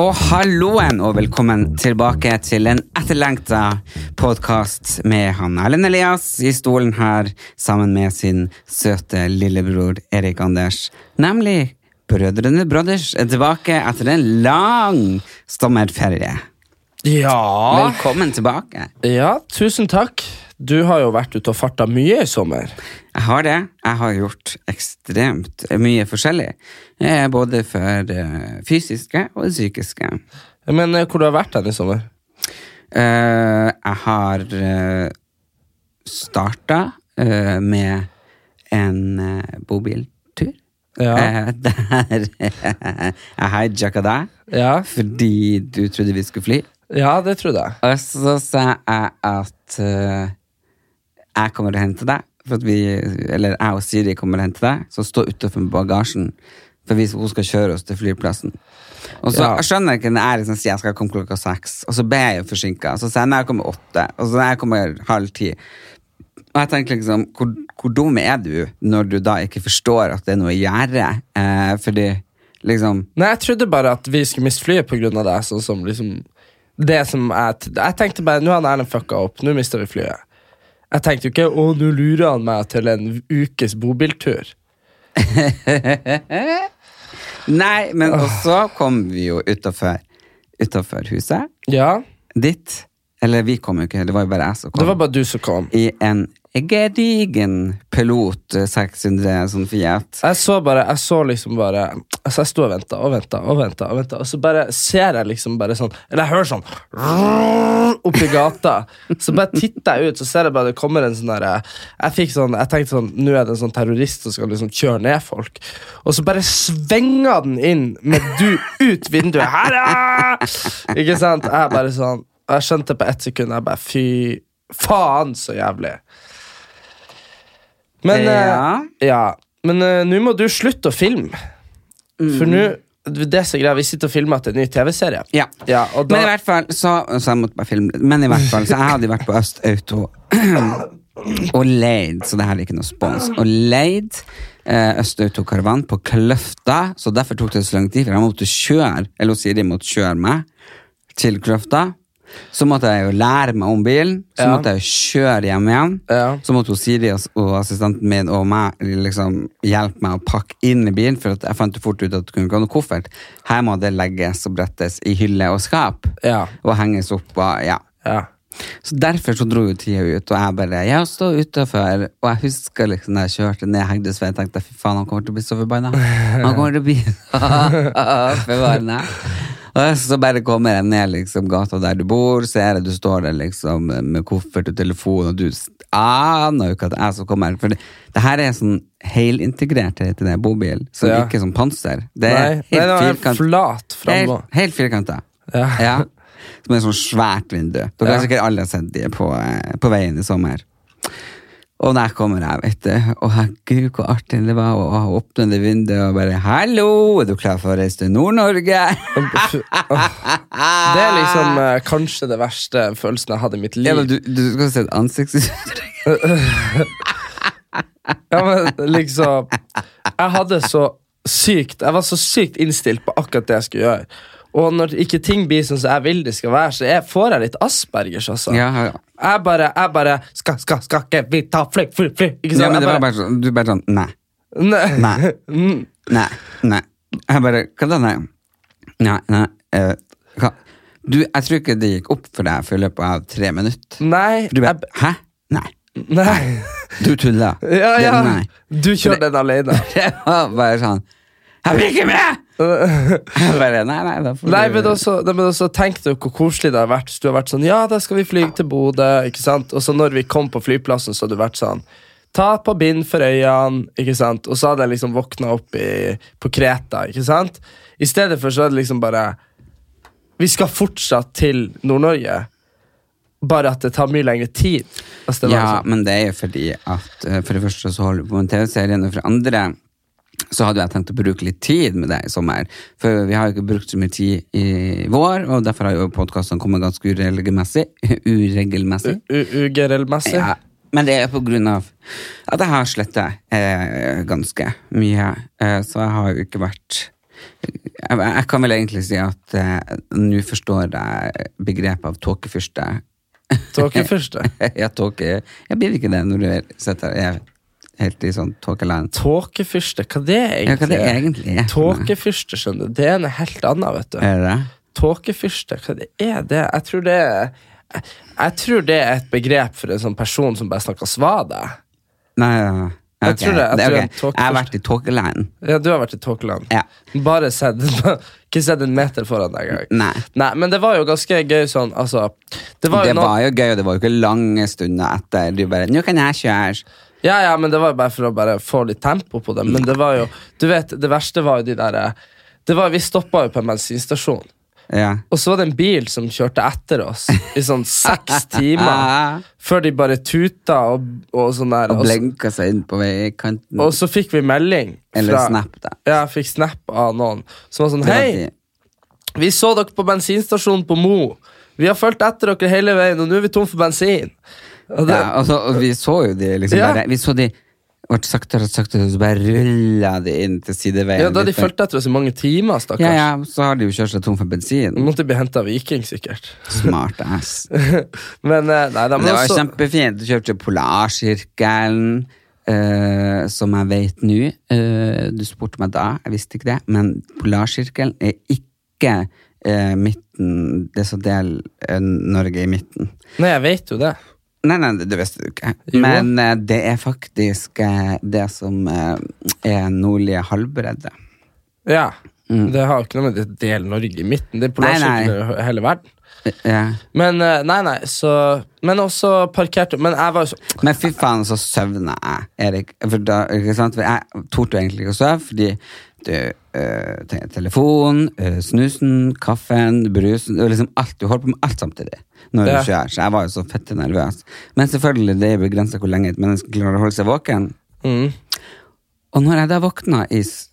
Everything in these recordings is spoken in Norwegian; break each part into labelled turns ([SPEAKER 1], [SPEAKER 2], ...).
[SPEAKER 1] Og halloen, og velkommen tilbake til en etterlengta podkast med han Erlend Elias i stolen her sammen med sin søte lillebror Erik Anders. Nemlig Brødrene Brothers er tilbake etter en lang sommerferie. Ah.
[SPEAKER 2] Ja.
[SPEAKER 1] Velkommen tilbake.
[SPEAKER 2] ja, tusen takk. Du har jo vært ute og farta mye i sommer.
[SPEAKER 1] Jeg har det. Jeg har gjort ekstremt mye forskjellig. Eh, Både for det fysiske og det psykiske.
[SPEAKER 2] Men eh, hvor du har vært hen i sommer?
[SPEAKER 1] Eh, Jeg har eh, starta eh, med en eh, bobiltur.
[SPEAKER 2] Ja.
[SPEAKER 1] Eh, Der eh, jeg hijacka deg
[SPEAKER 2] Ja.
[SPEAKER 1] fordi du trodde vi skulle fly.
[SPEAKER 2] Ja, det trodde jeg.
[SPEAKER 1] Og så sa jeg at eh, jeg kommer til å hente deg, for at vi, eller jeg og Siri kommer til å hente deg, så stå utenfor med bagasjen, for vi, hun skal kjøre oss til flyplassen. Og så
[SPEAKER 2] Ja.
[SPEAKER 1] jeg skjønner jeg ikke når jeg liksom sier jeg skal komme klokka seks, og så ble jeg jo forsinket, så sa jeg når jeg kommer åtte, og så når jeg kommer halv ti. Og jeg tenker liksom, hvor, hvor dum er du når du da ikke forstår at det er noe å gjøre? Eh, fordi liksom...
[SPEAKER 2] Nei, jeg trodde bare at vi skulle miste flyet pga. deg. Sånn som liksom Det som jeg t- Jeg tenkte bare nå har Erlend fucka opp, nå mister vi flyet. Jeg tenkte jo ikke å, nå lurer han meg til en ukes bobiltur.
[SPEAKER 1] Nei, men også kom vi jo utenfor, utenfor huset
[SPEAKER 2] Ja,
[SPEAKER 1] ditt. Eller vi kom jo ikke, det var jo bare jeg som kom.
[SPEAKER 2] det var bare du som kom.
[SPEAKER 1] I en gedigen pilot eh, 600 sånn Fiat.
[SPEAKER 2] Jeg så bare, jeg så liksom bare Altså jeg sto og venta og venta og venta, og ventet, og så bare ser jeg liksom bare sånn Eller jeg hører sånn oppi gata. Så bare titter jeg ut, så ser jeg bare det kommer en sånn derre Jeg fikk sånn, jeg tenkte sånn Nå er det en sånn terrorist som skal liksom kjøre ned folk. Og så bare svinger den inn med du ut vinduet. Her, ja! Ikke sant? Jeg bare sånn Og jeg skjønte på ett sekund Jeg bare Fy faen, så jævlig. Men eh,
[SPEAKER 1] Ja.
[SPEAKER 2] ja, men eh, nå må du slutte å filme. For nå det er så greia, Vi sitter og filmer etter en ny TV-serie.
[SPEAKER 1] Ja.
[SPEAKER 2] Ja, og da-
[SPEAKER 1] Men i hvert fall, så, så jeg måtte bare filme litt. Men i hvert fall, så jeg hadde jo vært på Øst Auto og leid, så det her er ikke noe spons, og leid eh, Øst Auto Karavan på Kløfta, så derfor tok det så lang tid, for jeg måtte kjøre, eller hun Siri måtte kjøre meg til Kløfta. Så måtte jeg jo lære meg om bilen, så
[SPEAKER 2] Ja.
[SPEAKER 1] måtte jeg jo kjøre hjem igjen.
[SPEAKER 2] Ja.
[SPEAKER 1] Så måtte hun Siri og og assistenten min og meg liksom hjelpe meg å pakke inn i bilen, for at jeg fant jo fort ut at det kunne ikke ha noe koffert. Her må det legges og brettes i hylle og skap,
[SPEAKER 2] Ja.
[SPEAKER 1] og henges opp og ja.
[SPEAKER 2] Ja.
[SPEAKER 1] Så derfor så dro jo tida ut, og jeg bare Jeg står utafor, og jeg husker liksom da jeg kjørte ned Hegdesveien, tenkte jeg fy faen, han kommer til å bli så forbanna. Han kommer til å bli forbanna. Og så bare kommer jeg ned liksom gata der du bor, ser jeg du står der liksom med koffert og telefon, og du s- aner jo ikke at jeg som kommer. For det, det her er sånn helintegrert, heter det, bobil. Så det
[SPEAKER 2] Ja.
[SPEAKER 1] er ikke sånn panser. Det er
[SPEAKER 2] Nei, nei, den er
[SPEAKER 1] firkant-
[SPEAKER 2] flat framover.
[SPEAKER 1] Helt, helt firkanta.
[SPEAKER 2] Ja.
[SPEAKER 1] Som et sånn svært vindu. Dere har sikkert alle sett de på, eh, på veien i sommer. Og der kommer jeg, vet du. Og herregud, hvor artig det var å å åpne det vinduet og bare 'Hallo, er du klar for å reise til Nord-Norge?'
[SPEAKER 2] Det er liksom eh, kanskje det verste følelsen jeg hadde i mitt liv.
[SPEAKER 1] Ah. Ja, men du, du skal se et ansiktsuttrykk.
[SPEAKER 2] Ja, men liksom Jeg hadde så sykt Jeg var så sykt innstilt på akkurat det jeg skulle gjøre. Og når ikke ting blir sånn som jeg vil de skal være, så jeg, får jeg litt aspergers, altså.
[SPEAKER 1] Ja, ja.
[SPEAKER 2] Jeg bare, jeg bare Skal, skal, skal ikke vi ta fly, fly, fly? Ikke sant?
[SPEAKER 1] Ja, men
[SPEAKER 2] Jeg
[SPEAKER 1] det var bare sånn, du bare sånn Nei.
[SPEAKER 2] Nei.
[SPEAKER 1] Nei.
[SPEAKER 2] Mm.
[SPEAKER 1] Nei. nei. Jeg bare Hva da, nei? Nei, nei. eh, hva? Du, jeg tror ikke det gikk opp for deg for i løpet av tre minutter.
[SPEAKER 2] Nei,
[SPEAKER 1] For du bare,
[SPEAKER 2] jeg,
[SPEAKER 1] Hæ? Nei.
[SPEAKER 2] nei.
[SPEAKER 1] Du tuller.
[SPEAKER 2] Ja, ja.
[SPEAKER 1] Det- Nei.
[SPEAKER 2] Du kjører den alene.
[SPEAKER 1] Det var bare sånn Jeg blir ikke med! Jeg bare, nei, nei, da får
[SPEAKER 2] Nei,
[SPEAKER 1] du-
[SPEAKER 2] men også, nei, men også tenk deg hvor koselig det har vært hvis du har vært sånn Ja, da skal vi fly til Bodø, ikke sant? Og så når vi kom på flyplassen, så hadde du vært sånn Ta på bind for øynene, ikke sant? Og så hadde jeg liksom våkna opp i, på Kreta, ikke sant? I stedet for så er det liksom bare Vi skal fortsatt til Nord-Norge, bare at det tar mye lengre tid. Altså, det var
[SPEAKER 1] Ja,
[SPEAKER 2] sånn.
[SPEAKER 1] men det er jo fordi at eh, for det første så holder vi på med TV-serien, og for det andre så hadde jeg tenkt å bruke litt tid med deg i sommer. For vi har jo ikke brukt så mye tid i vår, og derfor har jo podkastene kommet ganske uregelmessig. uregelmessig.
[SPEAKER 2] U- UGRL-messig.
[SPEAKER 1] Ja, men det er på grunn av at jeg har sletta eh, ganske mye. Eh, så jeg har jo ikke vært jeg, jeg kan vel egentlig si at eh, nå forstår jeg begrepet av tåkefyrste.
[SPEAKER 2] Tåkefyrste.
[SPEAKER 1] jeg tåke... Jeg blir ikke det når du er- sitter er helt i sånn tåkeland.
[SPEAKER 2] Tåkefyrste, hva det er
[SPEAKER 1] Ja, hva
[SPEAKER 2] egentlig?
[SPEAKER 1] det egentlig er. for noe.
[SPEAKER 2] Tåkefyrste, skjønner du. Det er noe helt annet, vet du.
[SPEAKER 1] Er det?
[SPEAKER 2] Tåkefyrste, hva det er det? Jeg tror det er jeg, jeg tror det er et begrep for en sånn person som bare snakker svada.
[SPEAKER 1] Nei, ja. ja.
[SPEAKER 2] Jeg
[SPEAKER 1] Ok,
[SPEAKER 2] tror det- jeg
[SPEAKER 1] ok.
[SPEAKER 2] tror en tåkefyrste-
[SPEAKER 1] jeg har vært i tåkeland.
[SPEAKER 2] Ja, du har vært i Tåkeland.
[SPEAKER 1] Ja.
[SPEAKER 2] Bare sett Ikke sett en meter foran deg engang.
[SPEAKER 1] Nei.
[SPEAKER 2] men det var jo ganske gøy sånn, altså Det var jo
[SPEAKER 1] det
[SPEAKER 2] noe
[SPEAKER 1] var jo gøy, og det var jo ikke lange stunder etter. Du bare 'Nå kan jeg kjøre'.
[SPEAKER 2] Ja, ja, men det var jo bare for å bare få litt tempo på det. Men det var jo Du vet, det verste var jo de derre Det var Vi stoppa jo på en bensinstasjon.
[SPEAKER 1] Ja.
[SPEAKER 2] Og så var det en bil som kjørte etter oss i sånn seks timer. før de bare tuta og, og sånn der.
[SPEAKER 1] Og
[SPEAKER 2] Og, så-
[SPEAKER 1] blenka seg inn på veikanten.
[SPEAKER 2] og så fikk vi melding.
[SPEAKER 1] Eller snap, da.
[SPEAKER 2] Ja, jeg fikk snap av noen som var sånn
[SPEAKER 1] Det var
[SPEAKER 2] Hei,
[SPEAKER 1] de-
[SPEAKER 2] vi så dere på bensinstasjonen på Mo. Vi har fulgt etter dere hele veien, og nå er vi tom for bensin. Og det,
[SPEAKER 1] Ja, og, så, og vi så jo de liksom
[SPEAKER 2] Ja.
[SPEAKER 1] bare Vi så de ble saktere og saktere, og så bare rulla de inn til sideveien.
[SPEAKER 2] ja, da de
[SPEAKER 1] litt før-
[SPEAKER 2] fulgt etter oss i mange timer, stakkars.
[SPEAKER 1] ja, ja, så har de jo kjørt seg tom for
[SPEAKER 2] Nå
[SPEAKER 1] bensin.
[SPEAKER 2] måtte de bli henta av Viking, sikkert.
[SPEAKER 1] Smart ass.
[SPEAKER 2] Men eh, nei da,
[SPEAKER 1] Men
[SPEAKER 2] men
[SPEAKER 1] det var
[SPEAKER 2] også,
[SPEAKER 1] kjempefint. Du kjøpte Polarsirkelen, eh, som jeg vet nå. Eh, du spurte meg da, jeg visste ikke det, men Polarsirkelen er ikke eh, midten, det som deler eh, Norge i midten.
[SPEAKER 2] Nei, jeg vet jo det.
[SPEAKER 1] Nei, nei, det- det visste du ikke.
[SPEAKER 2] Jo.
[SPEAKER 1] Men eh, det er faktisk eh, det som eh, er nordlige halvbredde.
[SPEAKER 2] Ja. Det har jo ikke noe med det del Norge i midten. Det er
[SPEAKER 1] Mm. Nei, nei.
[SPEAKER 2] polarsirkelen over hele verden.
[SPEAKER 1] Ja.
[SPEAKER 2] Men eh, nei, nei, så Men også parkerte Men jeg var jo så
[SPEAKER 1] Men fy faen, så søvner jeg, Erik. For, da, ikke sant? For jeg torde jo egentlig ikke å sove, fordi du, øh, te- telefon, øh, snusen, kaffen, brusen det var liksom alt, Du holder på med alt samtidig når
[SPEAKER 2] Ja.
[SPEAKER 1] du kjører. Så jeg var jo så fette nervøs. Men selvfølgelig, det er begrensa hvor lenge et menneske klarer å holde seg våken.
[SPEAKER 2] mm.
[SPEAKER 1] Og når jeg da våkna i, s-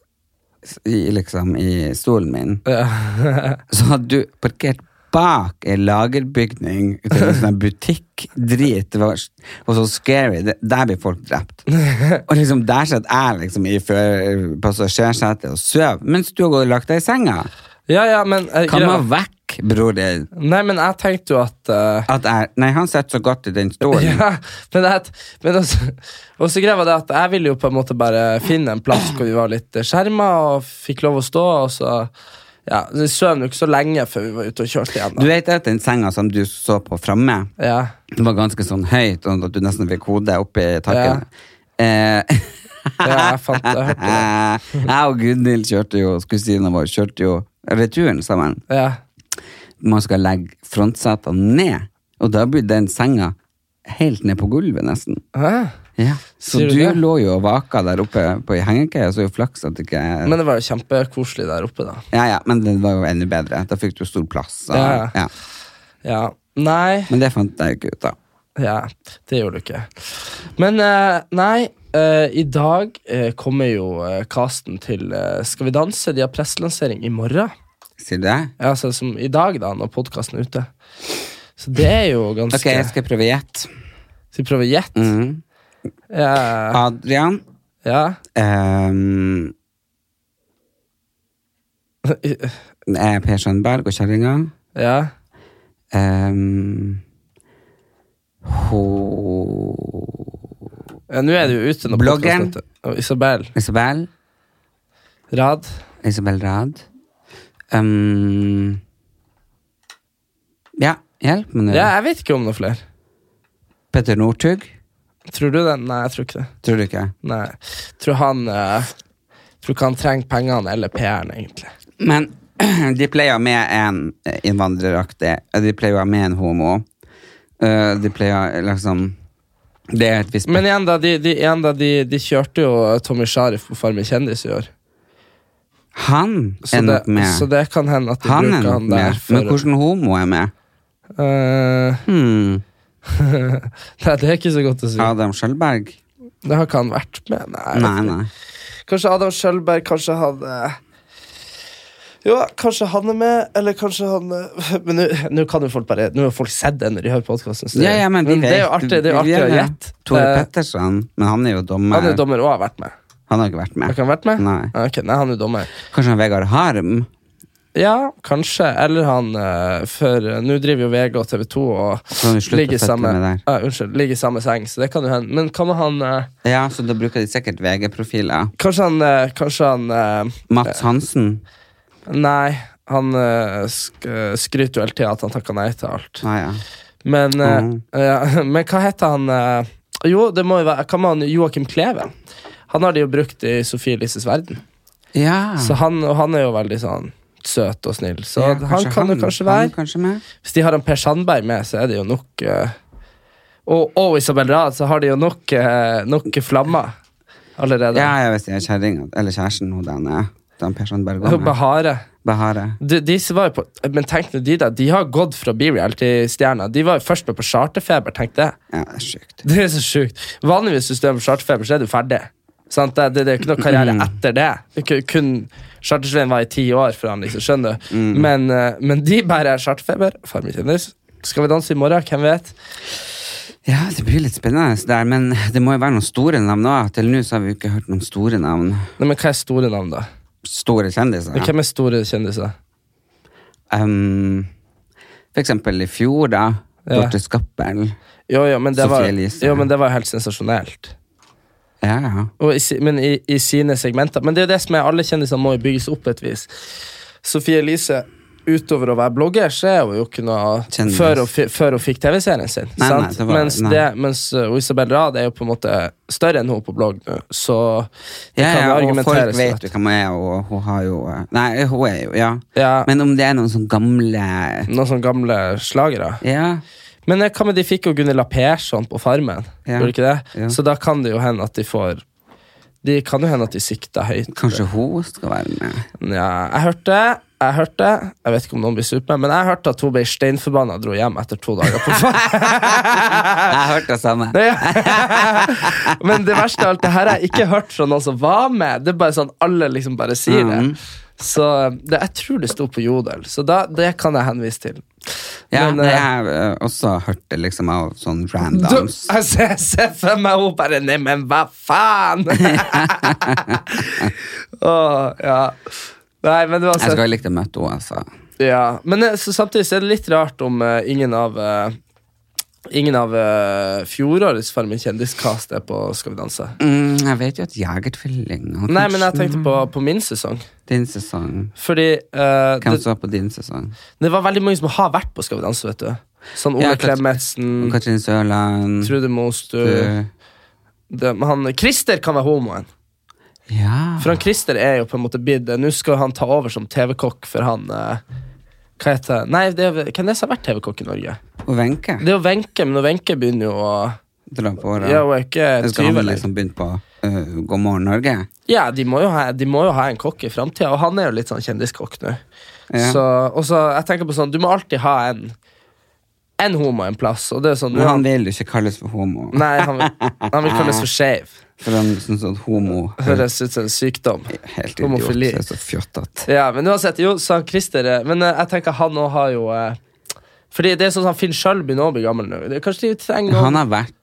[SPEAKER 1] s- i, liksom, i stolen min, så hadde du parkert bak en lagerbygning ute i en sånn butikkdrit. Det var, s- var så scary. Det, der blir folk drept. Og liksom der satt jeg liksom i før- passasjersetet og sov, mens du har gått og lagt deg i senga.
[SPEAKER 2] Ja, ja, men eh,
[SPEAKER 1] Kom
[SPEAKER 2] greia-
[SPEAKER 1] meg vekk, bror din.
[SPEAKER 2] Nei, men jeg tenkte jo at eh,
[SPEAKER 1] At jeg, nei, han sitter så godt i den stolen.
[SPEAKER 2] ja, men det, at- men også, og så greia var det at jeg ville jo på en måte bare finne en plass hvor vi var litt skjerma og fikk lov å stå, og så ja, Vi sov jo ikke så lenge før vi var ute og kjørte igjen.
[SPEAKER 1] Du
[SPEAKER 2] Da.
[SPEAKER 1] vet at den senga som du så på framme,
[SPEAKER 2] Ja.
[SPEAKER 1] Det var ganske sånn høyt, sånn at du nesten fikk hodet oppi taket. Eh,
[SPEAKER 2] Ja, jeg fant- jeg hørte
[SPEAKER 1] Jeg og Gunhild kjørte jo, kusina vår, kjørte jo returen sammen.
[SPEAKER 2] Ja.
[SPEAKER 1] Man skal legge frontsetene ned, og da blir den senga helt ned på gulvet, nesten.
[SPEAKER 2] Hæ?
[SPEAKER 1] Ja. Så
[SPEAKER 2] Sier
[SPEAKER 1] du,
[SPEAKER 2] du det?
[SPEAKER 1] lå jo og vaka der oppe på ei hengekøye, så er jo flaks at det ikke
[SPEAKER 2] Men det var jo kjempekoselig der oppe, da.
[SPEAKER 1] Ja, ja, men den var jo enda bedre. Da fikk du stor plass. Så,
[SPEAKER 2] Ja.
[SPEAKER 1] ja.
[SPEAKER 2] Ja. Nei.
[SPEAKER 1] Men det fant jeg jo ikke ut av.
[SPEAKER 2] Ja, det gjorde du ikke. Men eh, nei, eh, i dag eh, kommer jo eh, casten til eh, Skal vi danse? De har presselansering i morgen.
[SPEAKER 1] Sier du det?
[SPEAKER 2] Ja, altså som i dag, da, når podkasten er ute. Så det er jo ganske
[SPEAKER 1] Ok, jeg skal prøve å gjette.
[SPEAKER 2] Skal vi prøve å gjette?
[SPEAKER 1] Mhm. Ah.
[SPEAKER 2] Ja,
[SPEAKER 1] Adrian
[SPEAKER 2] ja.
[SPEAKER 1] Ehm, eh, Per Sandberg og kjerringa.
[SPEAKER 2] ja.
[SPEAKER 1] Ehm, ho...
[SPEAKER 2] Ja, Nå er det jo ute når
[SPEAKER 1] Bloggeren.
[SPEAKER 2] podcasten er ute. Og Isabel
[SPEAKER 1] Isabel.
[SPEAKER 2] Rad.
[SPEAKER 1] Isabel Rad. Ehm, ja, hjelp meg nå.
[SPEAKER 2] Ja, jeg vet ikke om noe flere.
[SPEAKER 1] Petter Northug.
[SPEAKER 2] Tror du det? Nei, jeg tror ikke det.
[SPEAKER 1] Tror du ikke?
[SPEAKER 2] Nei. Tror han eh, Tror ikke han trenger pengene eller PR-en, egentlig.
[SPEAKER 1] Men de pleier å ha med en innvandreraktig, de pleier å ha med en homo. Eh, De pleier å liksom Det er et visst
[SPEAKER 2] Men igjen, da. De, de, igjen da, de, de kjørte jo Tommy Sharif på Farmen kjendis i år.
[SPEAKER 1] Han
[SPEAKER 2] Så
[SPEAKER 1] er
[SPEAKER 2] det,
[SPEAKER 1] nok med.
[SPEAKER 2] så det kan hende at de
[SPEAKER 1] han er
[SPEAKER 2] bruker
[SPEAKER 1] nok
[SPEAKER 2] han der.
[SPEAKER 1] med. Men hvordan homo er med?
[SPEAKER 2] Eh,
[SPEAKER 1] Hmm.
[SPEAKER 2] Nei, det er ikke så godt å si.
[SPEAKER 1] Adam Skjølberg?
[SPEAKER 2] Det har ikke han vært med. Nei.
[SPEAKER 1] Nei, nei.
[SPEAKER 2] Kanskje Adam Schjølberg kanskje hadde Jo, kanskje han er med, eller kanskje han eh, Men nå- nå kan jo folk bare Nå har folk sett det når de hører podkasten.
[SPEAKER 1] Ja, ja, men vi
[SPEAKER 2] det er jo
[SPEAKER 1] vet-
[SPEAKER 2] artig, det er jo
[SPEAKER 1] vi
[SPEAKER 2] artig å
[SPEAKER 1] vet det.
[SPEAKER 2] gjette.
[SPEAKER 1] Tore
[SPEAKER 2] Eh,
[SPEAKER 1] Pettersen, men han er jo dommer.
[SPEAKER 2] Han er jo dommer og har vært med.
[SPEAKER 1] Han har ikke vært
[SPEAKER 2] Har
[SPEAKER 1] med.
[SPEAKER 2] ikke han vært med?
[SPEAKER 1] Nei.
[SPEAKER 2] Ah, ok, nei, han er jo dommer.
[SPEAKER 1] Kanskje han Vegard Harm?
[SPEAKER 2] Ja, kanskje. Eller han eh, For eh, nå driver jo VG og TV2 og
[SPEAKER 1] Kan vi slutte
[SPEAKER 2] ligger i
[SPEAKER 1] å føtte
[SPEAKER 2] samme,
[SPEAKER 1] med der?
[SPEAKER 2] Ah, unnskyld, ligger i samme seng, så det kan jo hende. Men hva med han eh,
[SPEAKER 1] Ja, så da bruker de sikkert VG-profiler.
[SPEAKER 2] Kanskje han eh, Kanskje han eh,
[SPEAKER 1] Mats Hansen?
[SPEAKER 2] Nei, han eh, sk eh, skryter jo hele tida at han takker nei til alt.
[SPEAKER 1] Ah, ja.
[SPEAKER 2] Men, eh,
[SPEAKER 1] Mhm.
[SPEAKER 2] ja, men hva heter han eh, Jo, det må jo være hva med han Joakim Kleven? Han har de jo brukt i Sofie Elises verden.
[SPEAKER 1] ja.
[SPEAKER 2] Så han, og han er jo veldig sånn søt og snill. Så
[SPEAKER 1] Ja,
[SPEAKER 2] han
[SPEAKER 1] kanskje
[SPEAKER 2] kan jo kanskje
[SPEAKER 1] han
[SPEAKER 2] være
[SPEAKER 1] kanskje med.
[SPEAKER 2] Hvis de har han Per Sandberg med, så er det jo nok eh, og, og Isabel Rad, så har de jo nok, eh, nok flammer allerede.
[SPEAKER 1] Ja, ja, hvis jeg er kjerringa, eller kjæresten hun den er. Den Per Sandberg
[SPEAKER 2] Og
[SPEAKER 1] var med.
[SPEAKER 2] Bahare.
[SPEAKER 1] Bahare.
[SPEAKER 2] De, disse var jo på, men tenk nå de, da. De har gått fra B-reality-stjerner. De var jo først med på Charterfeber, tenk det.
[SPEAKER 1] Ja, det er sjukt.
[SPEAKER 2] Det er så sjukt. Vanligvis hvis du er på charterfeber, så er du ferdig. Sant? Det, det, det er ikke noe karriere etter det. det er ikke- kun Chartersveien var i ti år for han, liksom, skjønner du. Men, eh, men de bare er charterfeber. Farmen kjendis. Skal vi danse i morgen? Hvem vet?
[SPEAKER 1] Ja, det blir litt spennende det der, men det må jo være noen store navn òg. Til nå så har vi jo ikke hørt noen store navn.
[SPEAKER 2] Nei, men hva er store navn, da?
[SPEAKER 1] Store kjendiser. Ja.
[SPEAKER 2] Hvem er store kjendiser?
[SPEAKER 1] Um, for eksempel i fjor, da.
[SPEAKER 2] Ja.
[SPEAKER 1] Dorte Skappel.
[SPEAKER 2] Jo, jo, men det var,
[SPEAKER 1] Sophie Elise.
[SPEAKER 2] jo, men det var helt sensasjonelt.
[SPEAKER 1] Ja, ja.
[SPEAKER 2] Og i, si- men i, i sine segmenter. Men det er jo det som er alle kjendiser må jo bygges opp på et vis. Sofie Elise, utover å være blogger, så er hun jo ikke noe
[SPEAKER 1] Kjendis.
[SPEAKER 2] før hun, fi- før hun fikk TV-serien sin.
[SPEAKER 1] Nei,
[SPEAKER 2] sant?
[SPEAKER 1] nei, det var-
[SPEAKER 2] mens,
[SPEAKER 1] nei.
[SPEAKER 2] Det, mens uh, Isabel Rad er jo på en måte større enn hun på blogg nå, så det
[SPEAKER 1] Ja,
[SPEAKER 2] kan
[SPEAKER 1] ja, og folk
[SPEAKER 2] argumenteres
[SPEAKER 1] vet
[SPEAKER 2] for.
[SPEAKER 1] jo hvem hun er, og hun har jo eh, Nei, hun er jo Ja.
[SPEAKER 2] Ja.
[SPEAKER 1] Men om det er noen sånne gamle
[SPEAKER 2] Noen sånne gamle slagere.
[SPEAKER 1] Ja.
[SPEAKER 2] Men eh, hva med de fikk jo Gunilla Persson på Farmen?
[SPEAKER 1] Ja.
[SPEAKER 2] Gjorde de ikke det?
[SPEAKER 1] Ja.
[SPEAKER 2] Så da kan det jo hende at de får De kan jo hende at de sikter høyt.
[SPEAKER 1] Kanskje hun skal være med?
[SPEAKER 2] Nja, jeg hørte jeg hørte, jeg vet ikke om noen blir sur på meg, men jeg hørte at hun ble steinforbanna og dro hjem etter to dager. på
[SPEAKER 1] Jeg har hørt det samme.
[SPEAKER 2] Ja. Men det verste av alt, det her har jeg ikke hørt fra noen som var med. Det er bare sånn, alle liksom bare sier det.
[SPEAKER 1] Mm.
[SPEAKER 2] Så det, jeg tror det sto på Jodel, så da, det kan jeg henvise til.
[SPEAKER 1] Ja,
[SPEAKER 2] Men,
[SPEAKER 1] det
[SPEAKER 2] eh,
[SPEAKER 1] har jeg eh, også hørt det liksom av sånn
[SPEAKER 2] Du, altså-
[SPEAKER 1] randoms.
[SPEAKER 2] jeg ser- jeg ser for meg henne bare Nei, men hva faen? Åh, ja. Nei, men det var
[SPEAKER 1] Jeg skulle ha likt å møte henne, altså.
[SPEAKER 2] Ja, men eh, så samtidig så er det litt rart om eh, ingen av eh, Ingen av eh, fjorårets Farmen kjendiskast er på Skal vi danse.
[SPEAKER 1] Mm, jeg vet jo at Jegertvilling har
[SPEAKER 2] Nei,
[SPEAKER 1] kanskje
[SPEAKER 2] men jeg tenkte på, på min sesong.
[SPEAKER 1] din sesong.
[SPEAKER 2] Fordi eh,
[SPEAKER 1] Hvem
[SPEAKER 2] det,
[SPEAKER 1] som var på din sesong?
[SPEAKER 2] det var veldig mange som har vært på Skal vi danse, vet du. Sånn Ole
[SPEAKER 1] Ja, Kat-
[SPEAKER 2] Klemetsen,
[SPEAKER 1] Katrin Sørland.
[SPEAKER 2] Trude Mostu
[SPEAKER 1] du-
[SPEAKER 2] det, men han, Christer kan være homoen.
[SPEAKER 1] Ja.
[SPEAKER 2] For han Christer er jo på en måte bidd Nå skal han ta over som TV-kokk for han eh, Hva heter Nei, det er, hvem er det som har vært TV-kokk i Norge?
[SPEAKER 1] Og Wenche.
[SPEAKER 2] Det er jo Wenche, men når Wenche begynner jo å
[SPEAKER 1] Dra på åra.
[SPEAKER 2] Ja, hun er ikke
[SPEAKER 1] Skal
[SPEAKER 2] 20
[SPEAKER 1] han
[SPEAKER 2] lenger.
[SPEAKER 1] liksom begynne på eh, God morgen, Norge?
[SPEAKER 2] Ja, de må, jo ha, de må jo ha en kokk i framtida, og han er jo litt sånn kjendiskokk nå.
[SPEAKER 1] Ja.
[SPEAKER 2] Så, og så jeg tenker på sånn, Du må alltid ha en En homo en plass. Og det er sånn,
[SPEAKER 1] Men han vil jo ikke kalles for homo.
[SPEAKER 2] nei, han, vil- han vil kalles for skeiv.
[SPEAKER 1] For han syns at homo høres
[SPEAKER 2] Høres ut som en sykdom.
[SPEAKER 1] helt idiot
[SPEAKER 2] Homofili.
[SPEAKER 1] Det er så fjottete.
[SPEAKER 2] Ja, Men uansett, jo, så han Christer eh, Men eh, jeg tenker han òg har jo eh, Fordi det er sånn som Finn sjøl begynner å bli gammel nå. Det- Kanskje de trenger noen
[SPEAKER 1] Han har vært